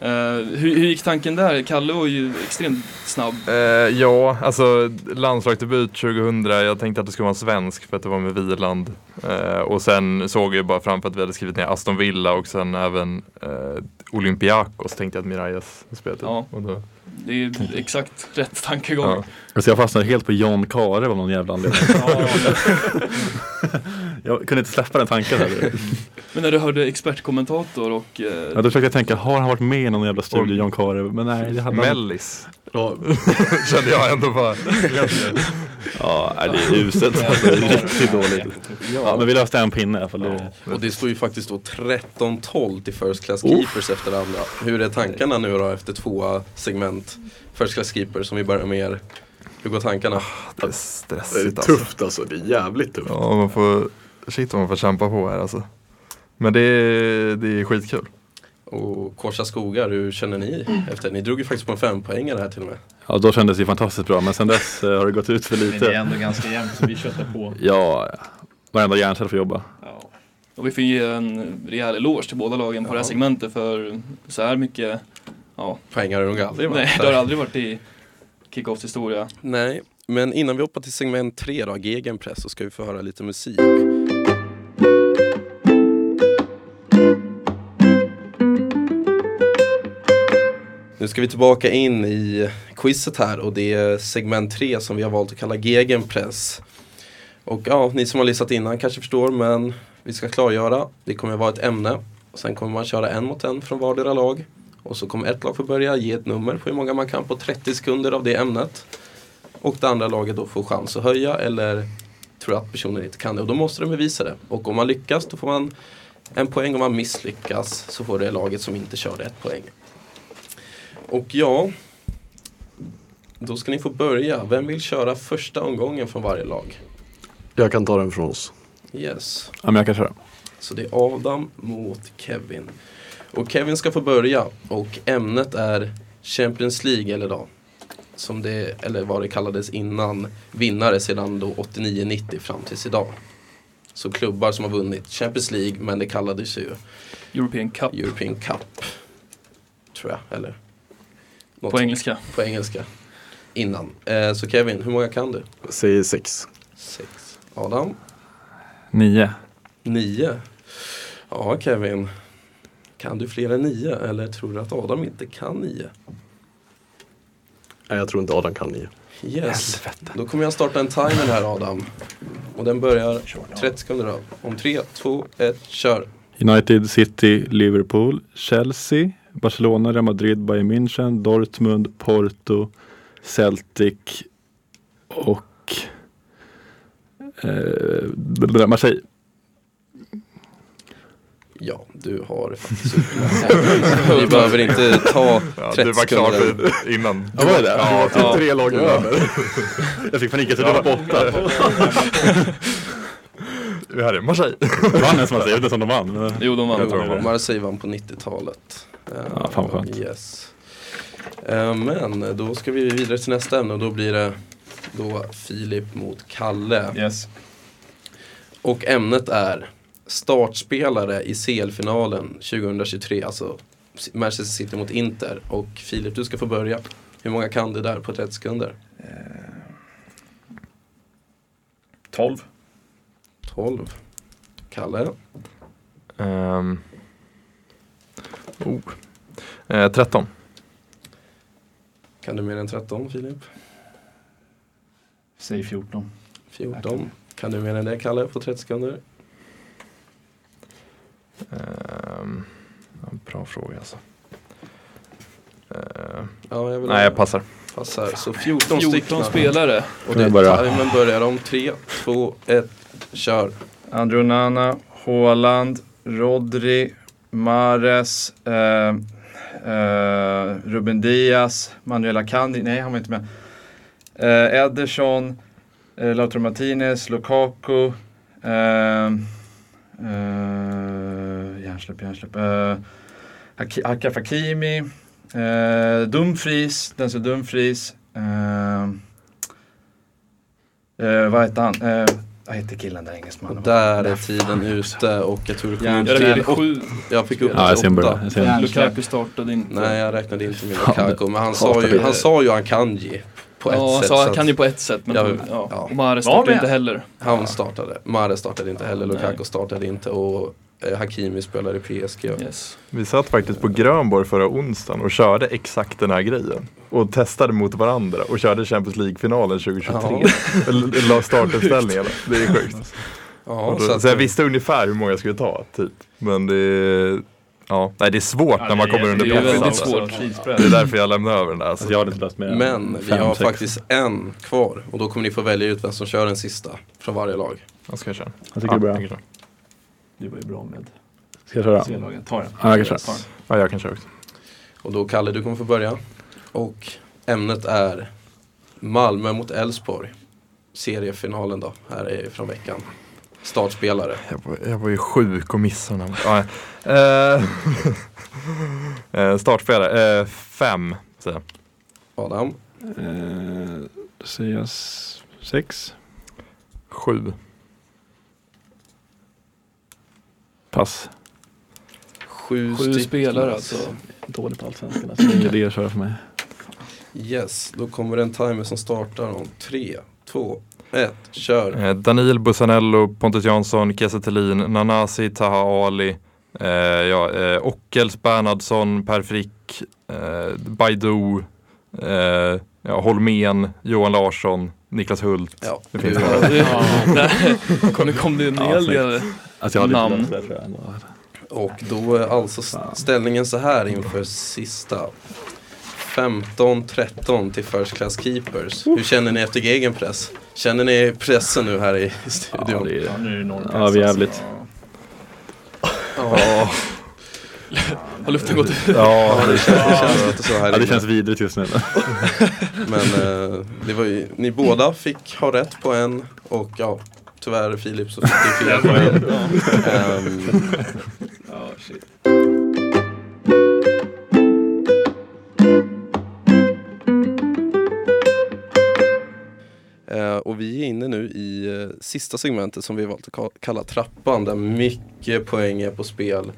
Speaker 2: Eh, hur, hur gick tanken där? Kalle var ju extremt snabb.
Speaker 3: Eh, ja, alltså landslagsdebut 2000. Jag tänkte att det skulle vara en svensk för att det var med Wieland. Eh, och sen såg jag bara framför att vi hade skrivit ner Aston Villa och sen även eh, Olympiakos tänkte jag att Mirajas spelade.
Speaker 2: Ja.
Speaker 3: Och då,
Speaker 2: Det är ju exakt rätt tankegång.
Speaker 3: ja.
Speaker 5: Alltså jag fastnade helt på John Kare av någon jävla anledning.
Speaker 2: Ja.
Speaker 5: [laughs] Jag kunde inte släppa den tanken heller.
Speaker 2: Men när du hörde expertkommentator och eh,
Speaker 5: Ja, då försökte jag tänka, har han varit med i någon jävla studie, John Kare? Men nej, det hade han
Speaker 3: Mellis [laughs]
Speaker 4: Ja,
Speaker 3: kände jag ändå bara.
Speaker 5: Ja, nej, det är uselt. Alltså, det är riktigt dåligt. Ja, men vi löste en pinne i alla fall. Det-
Speaker 1: Och det står ju faktiskt då 13-12 till First Class Keepers efter det andra. Hur är tankarna nu då efter två segment First Class Keepers som vi börjar med er? Hur går tankarna?
Speaker 3: Det är
Speaker 4: det är
Speaker 3: stressigt alltså.
Speaker 4: tufft alltså. Det är jävligt tufft.
Speaker 3: Ja, man får, shit vad man får kämpa på här alltså. Men det är, det är skitkul.
Speaker 1: Och Korsa Skogar, hur känner ni efter? Ni drog ju faktiskt på en fempoängare här till och med.
Speaker 5: Ja, då kändes det fantastiskt bra, men sen dess eh, har det gått ut för
Speaker 7: Men det är
Speaker 5: lite.
Speaker 7: ändå ganska jämnt så vi köttar på.
Speaker 5: Ja, varenda hjärncell får jobba.
Speaker 7: Ja.
Speaker 2: Och vi får ge en rejäl eloge till båda lagen på det här
Speaker 1: Ja.
Speaker 2: segmentet för så här mycket,
Speaker 1: Poängare har nog aldrig varit.
Speaker 2: nej
Speaker 1: här.
Speaker 2: det har aldrig varit i kickoffs historia.
Speaker 1: Nej, men innan vi hoppar till segment 3 då, gegenpress, så ska vi få höra lite musik. Nu ska vi tillbaka in i quizet här och det är segment 3 som vi har valt att kalla gegenpress. Och ja, ni som har lyssnat innan kanske förstår men vi ska klargöra. Det kommer vara ett ämne. Och sen kommer man köra en mot en från vardera lag. Och så kommer ett lag få börja ge ett nummer på hur många man kan på 30 sekunder av det ämnet. Och det andra laget då får chans att höja eller tror att personen inte kan det. Och då måste de bevisa det. Och om man lyckas då får man en poäng. Om man misslyckas så får det laget som inte körde ett poäng. Och ja, då ska ni få börja. Vem vill köra första omgången från varje lag?
Speaker 4: Jag kan ta den från oss.
Speaker 1: Yes.
Speaker 5: Ja, men jag kan köra.
Speaker 1: Så det är Adam mot Kevin. Och Kevin ska få börja och ämnet är Champions League eller då som det, eller vad det kallades innan, vinnare sedan då 89-90 fram tills idag. Så klubbar som har vunnit Champions League men det kallades ju
Speaker 2: European Cup
Speaker 1: European Cup. Tror jag, eller? Något
Speaker 2: på engelska.
Speaker 1: på engelska. Innan. Eh, så Kevin, hur många kan du?
Speaker 4: Säger sex.
Speaker 1: Sex. Adam?
Speaker 5: Nio.
Speaker 1: Nio. Ja, Kevin. Kan du fler än nio eller tror du att Adam inte kan nio?
Speaker 4: Nej, jag tror inte Adam kan nio.
Speaker 1: Yes. Då kommer jag starta en timer här Adam. Och den börjar 30 sekunder av. Om tre, två, ett, kör.
Speaker 5: United, City, Liverpool, Chelsea, Barcelona, Real Madrid, Bayern München, Dortmund, Porto, Celtic och eh, Marseille.
Speaker 1: Ja, du har faktiskt
Speaker 5: [laughs]
Speaker 1: utmärkt. Vi behöver inte ta
Speaker 3: Ja, du
Speaker 1: 30
Speaker 3: var klar
Speaker 1: sekunder.
Speaker 3: för innan.
Speaker 5: Ja, var typ det det?
Speaker 3: Ja,
Speaker 4: Ja. Tre lag över.
Speaker 5: Jag fick panik, jag trodde det var borta.
Speaker 3: vi hade Marseille.
Speaker 5: Vann ens Marseille, jag vet inte om de vann. men-
Speaker 2: Jo, de vann.
Speaker 5: tror det var det.
Speaker 1: Marseille vann på 90-talet. Eh,
Speaker 5: Ja, fan vad skönt.
Speaker 1: Yes. Eh, Men då ska vi vidare till nästa ämne och då blir det då Filip mot Kalle.
Speaker 6: Yes.
Speaker 1: Och ämnet är startspelare i CL-finalen 2023, alltså Manchester City mot Inter. Och Filip, du ska få börja. Hur många kan du där på 30 sekunder?
Speaker 6: 12.
Speaker 1: 12. Kalle,
Speaker 3: Ehm. oh. Eh, 13.
Speaker 1: kan du mer än 13? Filip?
Speaker 7: Säg 14.
Speaker 1: 14. Kan du mer än det Kalle på 30 sekunder?
Speaker 3: Ehm, ja, bra fråga alltså. Ehm,
Speaker 1: Ja, jag vill
Speaker 3: nej, jag passar.
Speaker 1: passar. Så 14,
Speaker 2: 14
Speaker 1: stycken.
Speaker 2: spelare.
Speaker 1: Och det
Speaker 5: Jag börjar.
Speaker 1: timern börjar om 3, 2, 1, kör.
Speaker 6: Andrew Nana, Haaland, Rodri, Mares, eh, eh, Ruben Diaz, Manuela Kandi, nej han var inte med. Eh, Ederson, eh, Lautaro Martinez, Lukaku, eh, eh, hjärnsläpp, hjärnsläpp, eh, Haki- Achraf Hakimi, eh, Dumfries, Denzel Dumfries, eh, eh, vad heter han? Eh, Vad heter killen där, engelsmannen?
Speaker 1: Och där är tiden ute och jag tror det kommer
Speaker 2: Jag
Speaker 1: upp
Speaker 2: räknade
Speaker 1: till
Speaker 2: sju.
Speaker 1: Jag fick upp
Speaker 5: Ja, jag ser en
Speaker 1: till
Speaker 5: bra.
Speaker 1: åtta.
Speaker 5: Jag ser en.
Speaker 2: Lukaku startade inte.
Speaker 1: Nej, jag räknade inte med
Speaker 5: Fan,
Speaker 1: Lukaku. Men han sa
Speaker 5: hatar
Speaker 1: ju,
Speaker 5: det.
Speaker 1: han sa ju Akanji på ett
Speaker 2: ja,
Speaker 1: sätt.
Speaker 2: så
Speaker 1: så
Speaker 2: han
Speaker 1: att
Speaker 2: kan ju på ett sätt. Men
Speaker 1: Ja,
Speaker 2: ja,
Speaker 1: ja.
Speaker 2: Och Mahrez startade
Speaker 6: men-
Speaker 2: inte heller.
Speaker 1: Han startade. Mare startade inte heller,
Speaker 2: Nej.
Speaker 1: Lukaku startade inte och eh, Hakimi spelade i PSG.
Speaker 2: Yes.
Speaker 3: Vi satt faktiskt på Grönborg förra onsdagen och körde exakt den här grejen. Och testade mot varandra och körde Champions League-finalen 2023. Eller La startuppställningarna. Det är sjukt.
Speaker 1: Ja,
Speaker 3: Och då-
Speaker 1: så att,
Speaker 3: Så jag visste ungefär hur många jag skulle ta, typ. Men det är, ja, nej, det är svårt när man kommer under
Speaker 2: det är
Speaker 3: press.
Speaker 2: väldigt
Speaker 3: alltså.
Speaker 2: svårt.
Speaker 3: Det är därför jag lämnar över den där. Alltså.
Speaker 5: Alltså, jag hade inte läst mer än
Speaker 1: men vi
Speaker 5: fem,
Speaker 1: har
Speaker 5: sex.
Speaker 1: faktiskt en kvar och då kommer ni få välja ut vem som kör den sista från varje lag.
Speaker 3: Jag ska köra.
Speaker 5: Jag tycker det är bra.
Speaker 3: jag, kan köra.
Speaker 7: Du var ju bra med
Speaker 5: Ska jag köra?
Speaker 7: C-lagen. Ta den.
Speaker 5: Ja, jag kan köra.
Speaker 3: Ja, jag kan köra också.
Speaker 1: Och då Kalle, du kommer få börja. Och ämnet är Malmö mot Elfsborg. Seriefinalen då, här är från veckan. Startspelare.
Speaker 3: Jag var, jag var ju sjuk och missade den här. Ja, ja. Eh, [laughs] eh, Startspelare, eh, fem säger jag.
Speaker 1: Adam,
Speaker 5: Eh, Då säger jag s- sex.
Speaker 3: Sju.
Speaker 5: Pass.
Speaker 1: sju,
Speaker 2: Sju
Speaker 1: stycken.
Speaker 2: spelare alltså.
Speaker 5: Dåligt på allsvenskan. Alltså. Ingen idé att köra för mig.
Speaker 1: Yes, då kommer det en timer som startar om tre, två, ett, kör.
Speaker 3: Eh, Daniel Bussanello, Pontus Jansson, Kiese Thelin, Nanasi, Taha Ali, eh, ja, eh, Ockels, Bernhardsson, Per Frick, eh, Baidu, eh, ja, Holmén, Johan Larsson, Niklas Hult.
Speaker 1: Ja,
Speaker 3: Det finns
Speaker 1: du-
Speaker 3: några.
Speaker 2: Ja, [laughs] det- där- Nu kom det en
Speaker 5: Ja,
Speaker 2: hel
Speaker 5: snyggt.
Speaker 2: del.
Speaker 5: Alltså, jag hade
Speaker 2: Namn.
Speaker 5: inte läst det där, tror jag.
Speaker 1: Och då är alltså s- ställningen så här inför sista. 15-13 till First Class Keepers. Hur känner ni efter egen press? Känner ni pressen nu här i i
Speaker 5: Ja,
Speaker 1: studion?
Speaker 5: det
Speaker 7: Ja,
Speaker 5: är...
Speaker 7: nu är det noll
Speaker 5: Ja, vi är jävligt.
Speaker 1: Ja,
Speaker 2: Har luften gått ut?
Speaker 3: Ja,
Speaker 1: det känns, det känns lite så här
Speaker 5: Ja, det
Speaker 1: inne.
Speaker 5: känns vidrigt just nu.
Speaker 1: Men eh, det var ju, ni båda fick ha rätt på en och ja, tyvärr Filip så fick du fel på en. Ehm, Eh, och vi är inne nu i eh, sista segmentet som vi valt att ka- kalla trappan där mycket poäng är på spel.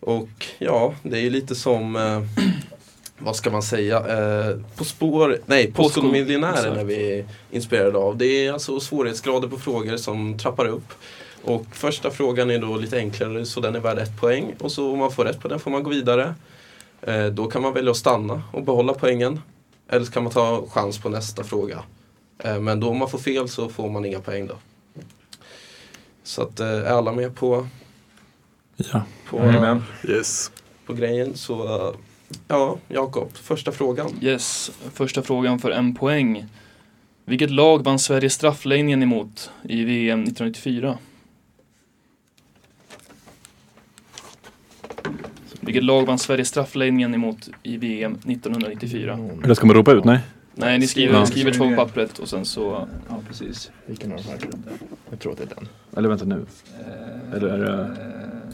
Speaker 1: Och ja, det är ju lite som, eh, [clears throat] vad ska man säga, eh, På spår, nej, Postkodmiljonären
Speaker 2: exakt.
Speaker 1: är vi inspirerade av. Det är alltså svårighetsgrader på frågor som trappar upp. Och första frågan är då lite enklare så den är värd ett poäng. Och så om man får rätt på den får man gå vidare. Eh, då kan man välja att stanna och behålla poängen. Eller så kan man ta chans på nästa fråga. Eh, Men då om man får fel så får man inga poäng då. Så att eh, är alla med på,
Speaker 5: Ja.
Speaker 1: på,
Speaker 6: Jajamän.
Speaker 4: Yes.
Speaker 1: på grejen så eh, ja, Jakob, första frågan.
Speaker 2: Yes, första frågan för en poäng. Vilket lag vann Sverige straffläggningen emot i VM 1994? Vilket lag vann Sverige straffläggningen emot i VM
Speaker 1: Mm.
Speaker 2: 1994?
Speaker 5: Eller ska man ropa ut? Nej.
Speaker 2: Nej, ni skriver,
Speaker 5: Ja.
Speaker 2: ni skriver två på pappret och sen så...
Speaker 7: Ja, precis.
Speaker 8: Vilken av de här glömde jag? Jag tror att det är den.
Speaker 5: Eller vänta nu.
Speaker 7: Eh,
Speaker 5: Eller är det-
Speaker 7: eh,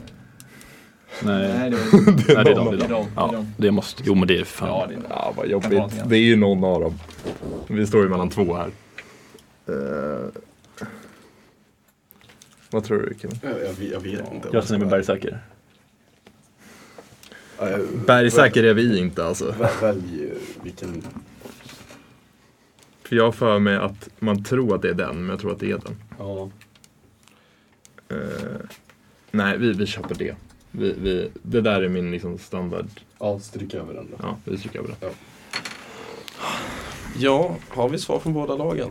Speaker 5: Nej,
Speaker 7: Nej, det var
Speaker 5: det är, nej, det är dem. Det är dem.
Speaker 7: Det är dem, det är
Speaker 5: Ja,
Speaker 7: dem.
Speaker 5: det måste. Jo, men det är fan.
Speaker 7: Ja, det är bra.
Speaker 3: Ja, vad
Speaker 7: Kan vara det.
Speaker 3: jobbigt. Det är ju någon av dem. Vi står ju mellan två här. Eh, Vad tror du, Kevin?
Speaker 4: Jag, jag, vet- jag vet inte.
Speaker 5: Jag känner mig bergsäker.
Speaker 4: Ja, jag-
Speaker 3: Bergsäker är vi inte alltså.
Speaker 4: Vä- Välj eh, vilken...
Speaker 3: För jag har för mig att man tror att det är den, men jag tror att det är den.
Speaker 1: Ja.
Speaker 3: Eh, nej, vi, vi köper det. Vi, vi, det där är min liksom, standard.
Speaker 4: Ja, stryk över den då.
Speaker 3: Ja, vi stryker över det.
Speaker 1: ja, har vi svar från båda lagen?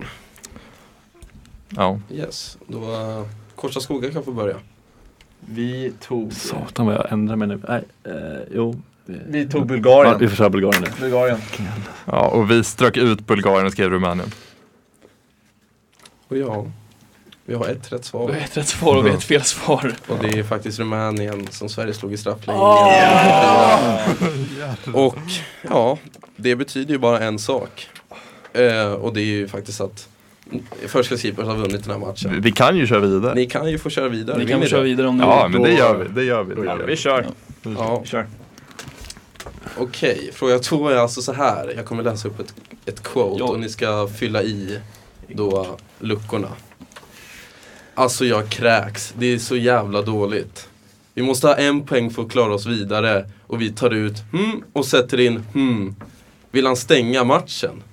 Speaker 3: Ja.
Speaker 1: Yes, då eh, Korsa Skoga kan få börja.
Speaker 7: Vi tog,
Speaker 5: Satan vad jag ändrar mig nu. Nej, eh, jo.
Speaker 7: vi tog
Speaker 5: Ja, vi
Speaker 7: Bulgarien.
Speaker 5: får köra Bulgarien nu.
Speaker 7: Bulgarien.
Speaker 3: ja, och vi strök ut Bulgarien och skrev Rumänien.
Speaker 1: Och ja, vi har ett rätt
Speaker 2: Vi har
Speaker 1: svar.
Speaker 2: ett rätt svar och vi har ett fel svar.
Speaker 1: Och det är faktiskt Rumänien som Sverige slog i straffläggningen. Och ja, det betyder ju bara en sak. Eh, och det är ju faktiskt att First Class Keepers har vunnit den här matchen.
Speaker 3: Vi kan ju köra vidare.
Speaker 1: Ni kan ju få köra vidare.
Speaker 2: Ni
Speaker 1: Vill
Speaker 2: kan väl köra vidare om ni
Speaker 3: Ja,
Speaker 2: vill.
Speaker 3: men det gör vi. Det gör vi.
Speaker 4: Då gör vi.
Speaker 3: Vi kör.
Speaker 2: Mm.
Speaker 1: Ja.
Speaker 7: Vi kör.
Speaker 1: Okej, fråga två är alltså så här. Jag kommer läsa upp ett, ett quote
Speaker 2: Ja.
Speaker 1: och ni ska fylla i då luckorna. Alltså jag kräks. Det är så jävla dåligt. Vi måste ha en poäng för att klara oss vidare. Och vi tar ut hmm och sätter in hmm. Vill han stänga matchen?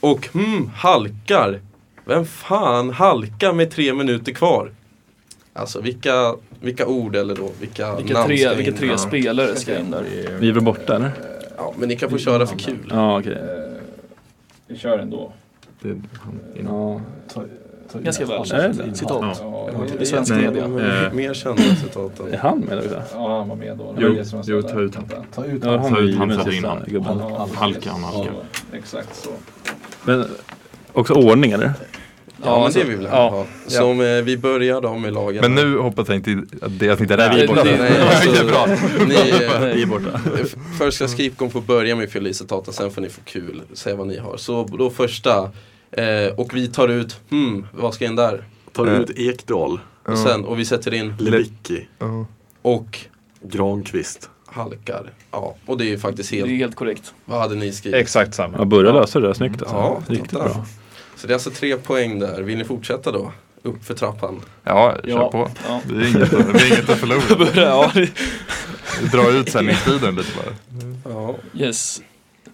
Speaker 1: Och hmm, halkar. Vem fan halkar med tre minuter kvar? Alltså vilka, vilka ord eller då vilka,
Speaker 2: Vilka
Speaker 1: namn ska
Speaker 2: tre,
Speaker 1: in?
Speaker 2: vilka tre spelare ska in där?
Speaker 5: Vi är väl borta eller?
Speaker 1: Ja, men ni kan få köra för kul.
Speaker 5: Ja, okej.
Speaker 7: Typ. Eh, Vi kör ändå. Eh,
Speaker 5: Ja.
Speaker 2: Ganska väl.
Speaker 5: Är det det?
Speaker 2: Citat.
Speaker 7: Ja,
Speaker 2: I svensk
Speaker 3: Nej.
Speaker 2: media.
Speaker 3: Eh.
Speaker 1: Mer kända citat
Speaker 5: Är
Speaker 1: än...
Speaker 5: han med då? Gustav?
Speaker 7: ja, han var med då.
Speaker 3: Jo, jo, ta ut han.
Speaker 7: Ta ut
Speaker 5: Ja,
Speaker 3: Ta
Speaker 5: är
Speaker 3: ut
Speaker 5: ju
Speaker 3: han
Speaker 5: med
Speaker 3: sätter
Speaker 5: sista
Speaker 3: in han.
Speaker 5: gubben.
Speaker 3: Halka, han halkar.
Speaker 7: Exakt så.
Speaker 5: Men också ordning eller?
Speaker 1: Ja, men
Speaker 2: alltså,
Speaker 1: det vill vi
Speaker 2: ja.
Speaker 1: ha. Som eh, vi börjar då med lagen.
Speaker 3: Men nu hoppas jag inte att [laughs] det att inte är
Speaker 2: Nej,
Speaker 3: vi borta.
Speaker 2: det-
Speaker 1: Nej,
Speaker 3: Vilket bra.
Speaker 1: alltså, ni, eh,
Speaker 5: Vi är borta.
Speaker 1: F- Först ska Skipcom få börja med fyllicitaten, sen får ni få kul, säga vad ni har. Så då första, eh, och vi tar ut, hmm, vad ska in där?
Speaker 4: Tar ut Ekdal,
Speaker 1: Och sen, och vi sätter in,
Speaker 4: Levicki,
Speaker 3: Ja.
Speaker 1: och
Speaker 4: Granqvist.
Speaker 1: halkar. Ja, och det är ju faktiskt
Speaker 2: Det är
Speaker 1: helt,
Speaker 2: helt korrekt.
Speaker 1: vad hade ni skrivit?
Speaker 6: Exakt samma.
Speaker 5: Ja, börja lösa det där snyggt alltså.
Speaker 1: Ja,
Speaker 5: Riktigt
Speaker 1: titta.
Speaker 5: bra.
Speaker 1: Så det är alltså tre poäng där, vill ni fortsätta då? Upp för trappan.
Speaker 3: Ja, kör
Speaker 2: Ja.
Speaker 3: på.
Speaker 2: Ja.
Speaker 3: [laughs] Det är inget, det är inget att förlora.
Speaker 2: [laughs] Ja, det-
Speaker 3: Dra ut sändningstiden lite bara.
Speaker 1: Ja,
Speaker 2: yes.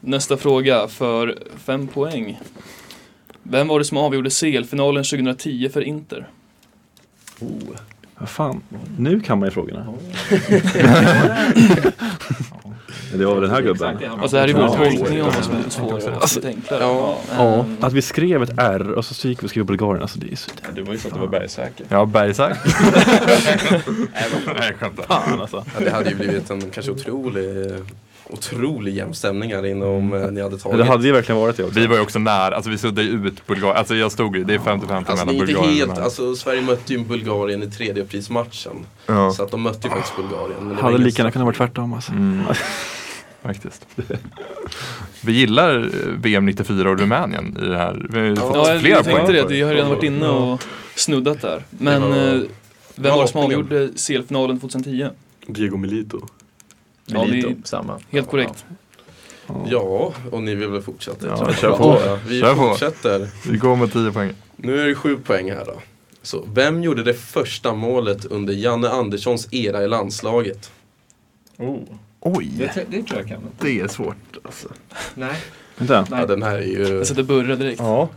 Speaker 2: Nästa fråga för fem poäng. Vem var det som avgjorde CL-finalen 2010 för Inter?
Speaker 5: Vad fan, nu kan man ju [laughs] frågorna. det var väl den här gubben?
Speaker 2: Alltså det här är
Speaker 5: Ja.
Speaker 2: vår tolkning av vad som är svårt. Alltså, Det är enklare.
Speaker 1: Ja.
Speaker 5: Ja, att vi skrev ett R och så gick vi och skrev Bulgarien, alltså det är så
Speaker 6: Du var ju så att du var bergsäker.
Speaker 3: Ja, Bergsak. Nej, jag skämtar.
Speaker 5: fan alltså.
Speaker 1: ja, det hade ju blivit en kanske otrolig, otrolig jämnstämning här inne om eh, ni hade tagit.
Speaker 5: Det hade ju verkligen varit det också.
Speaker 3: Vi var ju också nära, alltså vi suddade ju ut Bulgarien. Alltså jag stod ju, det är 50-50
Speaker 1: Alltså, det
Speaker 3: mellan
Speaker 1: är inte
Speaker 3: Bulgarien
Speaker 1: helt,
Speaker 3: och
Speaker 1: alltså, Sverige mötte ju Bulgarien i tredjeprismatchen.
Speaker 3: Ja,
Speaker 1: Så att de mötte ju faktiskt Bulgarien. men det var
Speaker 5: Hade
Speaker 1: ingen
Speaker 5: lika gärna
Speaker 1: straff.
Speaker 5: kunnat vara tvärtom alltså.
Speaker 3: faktiskt. Vi gillar eh, VM 94 och Rumänien i det här. Vi har ju fått
Speaker 2: Ja, jag
Speaker 3: flera
Speaker 2: jag
Speaker 3: poäng.
Speaker 2: tänkte det.
Speaker 3: för
Speaker 2: Vi har redan varit inne och snuddat där. Men
Speaker 1: Ja.
Speaker 2: eh, vem var det som
Speaker 1: Ja, opinion.
Speaker 2: avgjorde CL-finalen 2010?
Speaker 4: Diego Milito.
Speaker 2: Ja, det är
Speaker 6: samma.
Speaker 2: helt korrekt.
Speaker 1: Ja, och ni vill väl fortsätta?
Speaker 3: Ja,
Speaker 1: tror jag.
Speaker 3: kör på.
Speaker 1: Ja, Vi
Speaker 3: Kör på.
Speaker 1: fortsätter.
Speaker 3: Vi går med 10 poäng.
Speaker 1: Nu är det sju poäng här då. Så, vem gjorde det första målet under Janne Anderssons era i landslaget?
Speaker 7: Oh.
Speaker 3: Oj,
Speaker 7: Det, det tror jag kan.
Speaker 3: det är svårt alltså.
Speaker 7: Nej.
Speaker 5: Vänta.
Speaker 1: Ja, den här är ju...
Speaker 5: [laughs]
Speaker 2: Jag
Speaker 5: Alltså,
Speaker 2: sätter Burre direkt.
Speaker 3: Ja.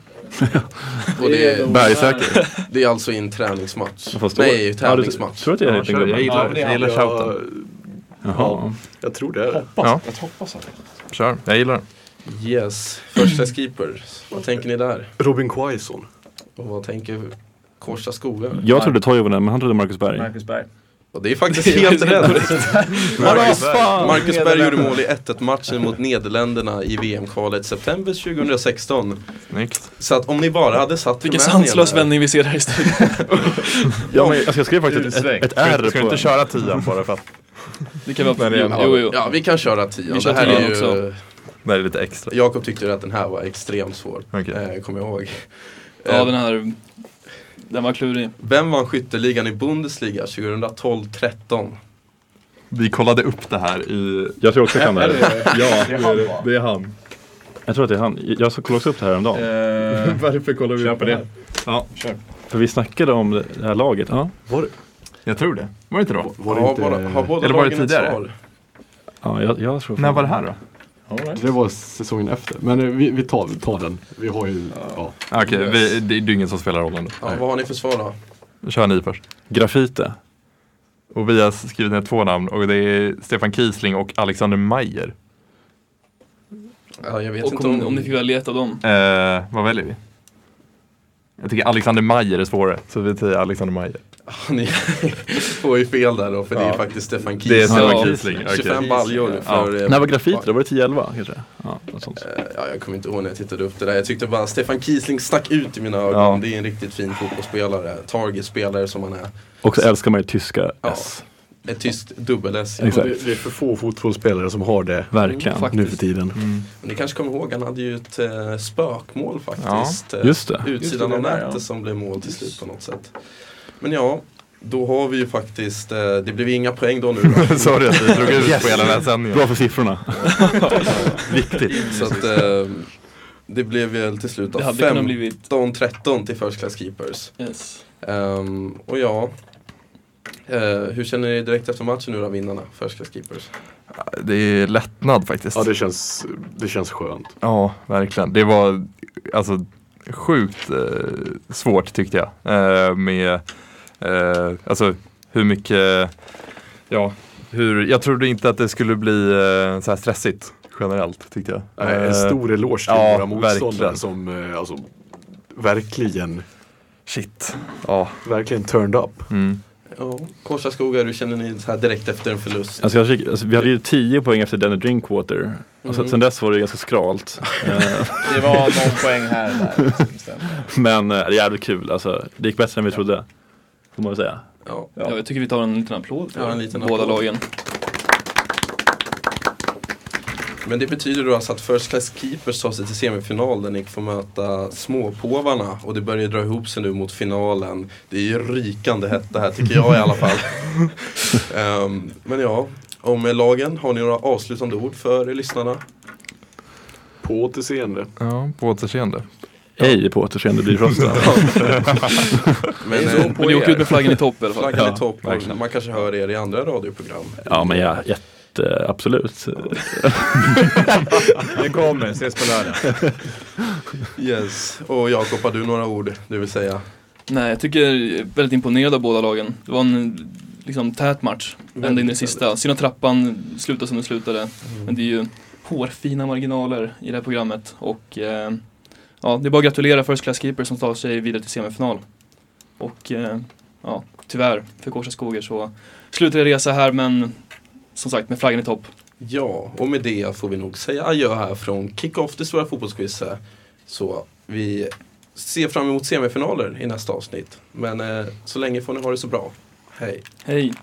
Speaker 1: Och det, är,
Speaker 2: [laughs]
Speaker 3: Bergsäker.
Speaker 1: det är alltså i en träningsmatch.
Speaker 5: Fast då-
Speaker 1: Nej,
Speaker 5: Ja, du-
Speaker 1: tävlingsmatch.
Speaker 5: Tror du att jag
Speaker 3: Ja,
Speaker 5: är den
Speaker 3: kör, jag
Speaker 5: gubben?
Speaker 3: gillar,
Speaker 7: det
Speaker 3: jag gillar shouten.
Speaker 5: Jaha.
Speaker 4: Jag tror det är det.
Speaker 3: Ja,
Speaker 7: Jag hoppas att det är.
Speaker 3: kör. Jag gillar den.
Speaker 1: Yes,
Speaker 4: [clears throat]
Speaker 1: första skipper. Vad tänker ni där?
Speaker 4: Robin Quaison.
Speaker 1: Och vad tänker Korsa Skogar?
Speaker 5: Jag trodde Toivonen, men han trodde Marcus Berg.
Speaker 6: Marcus Berg.
Speaker 1: Och det är faktiskt helt rätt. Marcus, Marcus Berg gjorde
Speaker 6: Nederländerna.
Speaker 1: mål i 1-1 matchen mot Nederländerna i VM-kvalet september 2016.
Speaker 3: Snyggt.
Speaker 1: Så att om ni bara hade satt
Speaker 2: Vilken
Speaker 1: Rumänien
Speaker 2: sanslös
Speaker 1: där-
Speaker 2: vändning vi ser här i studion.
Speaker 5: Ja, men, alltså, jag skrev faktiskt ett,
Speaker 6: Utsväng.
Speaker 5: ett, ett
Speaker 3: Ska
Speaker 5: R
Speaker 3: vi- Ska vi
Speaker 5: på
Speaker 3: inte köra 10 bara för att
Speaker 2: Det kan vara...
Speaker 3: Nej, det är
Speaker 2: Jo,
Speaker 3: en
Speaker 2: jo, jo.
Speaker 1: Ja, vi kan köra 10.
Speaker 2: Vi kör
Speaker 1: Det här är
Speaker 2: tian
Speaker 1: ju...
Speaker 2: också.
Speaker 3: det är lite extra? Äh.
Speaker 1: Jakob tyckte ju att den här var extremt svår,
Speaker 3: Okej.
Speaker 1: eh, kommer jag ihåg.
Speaker 2: Ja,
Speaker 1: Eh,
Speaker 2: den här... Den var klurig.
Speaker 1: Vem vann skytteligan i Bundesliga 2012-13?
Speaker 3: Vi kollade upp det här i...
Speaker 5: Jag tror också att han är det.
Speaker 3: Ja,
Speaker 7: Det är han, va?
Speaker 3: det är han.
Speaker 5: Jag tror att det är han. Jag kollade också upp det här om dagen. [laughs]
Speaker 6: Eh,
Speaker 3: Varför kollar vi
Speaker 6: Kör på det.
Speaker 3: Ja.
Speaker 5: För vi snackade om det här laget. Ja,
Speaker 3: Jag tror det. Var det inte då?
Speaker 4: Var det
Speaker 1: Ja,
Speaker 4: inte...
Speaker 1: båda- har båda
Speaker 3: Eller var det
Speaker 1: lagen ett
Speaker 3: tidigare?
Speaker 1: svar?
Speaker 5: ja jag, jag tror
Speaker 3: När var det här då?
Speaker 6: Alright.
Speaker 4: Det var säsongen efter. Men eh, vi, vi tar, vi tar den. Vi har ju... Ja.
Speaker 3: Okej, vi- det är ju ingen som spelar rollen
Speaker 1: Ja, vad har ni för svar då?
Speaker 3: då. Kör ni först.
Speaker 5: Grafite.
Speaker 3: Och vi har skrivit ner två namn och det är Stefan Kiesling och Alexander Mayer.
Speaker 1: Ja, jag vet
Speaker 2: Och
Speaker 1: inte
Speaker 2: om, om ni fick välja ett av dem.
Speaker 3: Eh, vad väljer vi? Jag tycker Alexander Mayer är svårare, så vi säger Alexander Mayer.
Speaker 1: Ni får ju fel där då, för det är faktiskt Stefan Kiese.
Speaker 3: Det är Stefan
Speaker 2: Ja.
Speaker 3: Kiesling. okej.
Speaker 1: 25 baljor för... eh,
Speaker 5: När var grafite då? Var det 10-11 kanske? Ja, något sånt.
Speaker 1: Ja, jag kommer inte ihåg när jag tittade upp det där. Jag tyckte bara Stefan Kiesling stack ut i mina ögon.
Speaker 3: Ja.
Speaker 1: Det är en riktigt fin fotbollsspelare. Targetspelare som han är.
Speaker 5: Och så älskar man ju tyska
Speaker 1: Ja.
Speaker 5: S.
Speaker 1: Ett tyskt dubbel-S.
Speaker 5: Exakt.
Speaker 4: Och Det, det är för få fotbollsspelare som har det
Speaker 5: Verkligen.
Speaker 2: Faktiskt.
Speaker 4: nu för tiden.
Speaker 3: Mm.
Speaker 1: Men Ni kanske kommer ihåg, han hade ju ett eh, spökmål faktiskt. Eh,
Speaker 5: Just det.
Speaker 1: Utsidan
Speaker 6: Just det,
Speaker 1: av
Speaker 6: det där,
Speaker 1: nätet
Speaker 6: ja.
Speaker 1: som blev mål till slut på något sätt. Men ja, då har vi ju faktiskt, eh, det blev inga poäng då nu.
Speaker 3: [laughs]
Speaker 1: Då.
Speaker 3: Sorry att vi drog
Speaker 1: [laughs]
Speaker 3: ut på hela den här sändningen.
Speaker 5: Bra för siffrorna. Viktigt.
Speaker 1: Så att, eh, Det blev väl till slut
Speaker 2: Det
Speaker 1: av
Speaker 2: hade kunnat blivit,
Speaker 1: 15-13 till First Class Keepers.
Speaker 2: yes.
Speaker 1: Ehm, och ja, eh, hur känner ni direkt efter matchen nu då, vinnarna, First Class Keepers?
Speaker 3: Det är lättnad faktiskt.
Speaker 4: Ja, det känns, det känns skönt.
Speaker 3: Ja, verkligen. Det var alltså sjukt eh, svårt tyckte jag. Eh, med eh, alltså hur mycket, ja, hur, jag trodde inte att det skulle bli eh, så här stressigt generellt tyckte jag.
Speaker 4: Nej, en
Speaker 3: Eh,
Speaker 4: stor eloge till
Speaker 3: ja,
Speaker 4: våra motståndare
Speaker 3: verkligen.
Speaker 4: som eh, alltså, verkligen,
Speaker 3: Shit. Ja.
Speaker 4: verkligen turned up.
Speaker 3: Mm.
Speaker 1: Ja, Korsaskogar, hur känner ni så här direkt efter en förlust?
Speaker 5: Alltså jag kik, alltså vi hade ju 10 poäng efter Danny Drinkwater. Och sen,
Speaker 1: Mm.
Speaker 5: sen dess var det ganska skralt. Eh,
Speaker 6: [laughs] Det var någon poäng här och där. liksom,
Speaker 5: [laughs]
Speaker 6: bestämt.
Speaker 5: Men eh, det är jävligt kul. Alltså, det gick bättre än vi trodde. Får man väl säga.
Speaker 1: Ja.
Speaker 2: Ja, jag tycker vi tar en liten applåd för
Speaker 1: Ja, en liten
Speaker 2: båda
Speaker 1: applåd.
Speaker 2: lagen.
Speaker 1: Men det betyder då alltså att First Class Keepers tar sig till semifinal där ni får möta småpåvarna och det börjar ju dra ihop sig nu mot finalen. Det är ju rykande hett det här tycker jag i alla fall. Ehm, men ja, om lagen, har ni några avslutande ord för lyssnarna?
Speaker 4: På återseende.
Speaker 3: ja, på återseende.
Speaker 5: Ej på återseende [laughs] blir frosta.
Speaker 1: Men,
Speaker 2: Men,
Speaker 1: eh,
Speaker 2: men ni åker ut med flaggan i topp i alla fall.
Speaker 1: Flaggan
Speaker 5: Ja,
Speaker 1: i topp,
Speaker 3: verkligen.
Speaker 1: man kanske hör er i andra radioprogram.
Speaker 5: ja men ja, jätte, absolut.
Speaker 6: Det kommer, ses på lördag.
Speaker 1: Yes, och Jakob har du några ord du vill säga?
Speaker 2: Nej, jag tycker jag är väldigt imponerad av båda lagen. Det var en liksom tät match, ända in i
Speaker 1: Väldigt Mm.
Speaker 2: det sista. Synd att trappan slutade som den slutade. Men det är ju hårfina marginaler i det här programmet och eh, ja, det är bara att gratulera First Class Keeper som tar sig vidare till semifinal. Och eh, ja, tyvärr för Kårsta Skoger så slutar det resa här men som sagt med flaggan i topp.
Speaker 1: Ja, och med det får vi nog säga adjö här från Kick-Off, det stora fotbollsquizet. Så vi ser fram emot semifinaler i nästa avsnitt. Men eh, så länge får ni ha det så bra. Hej!
Speaker 2: Hej!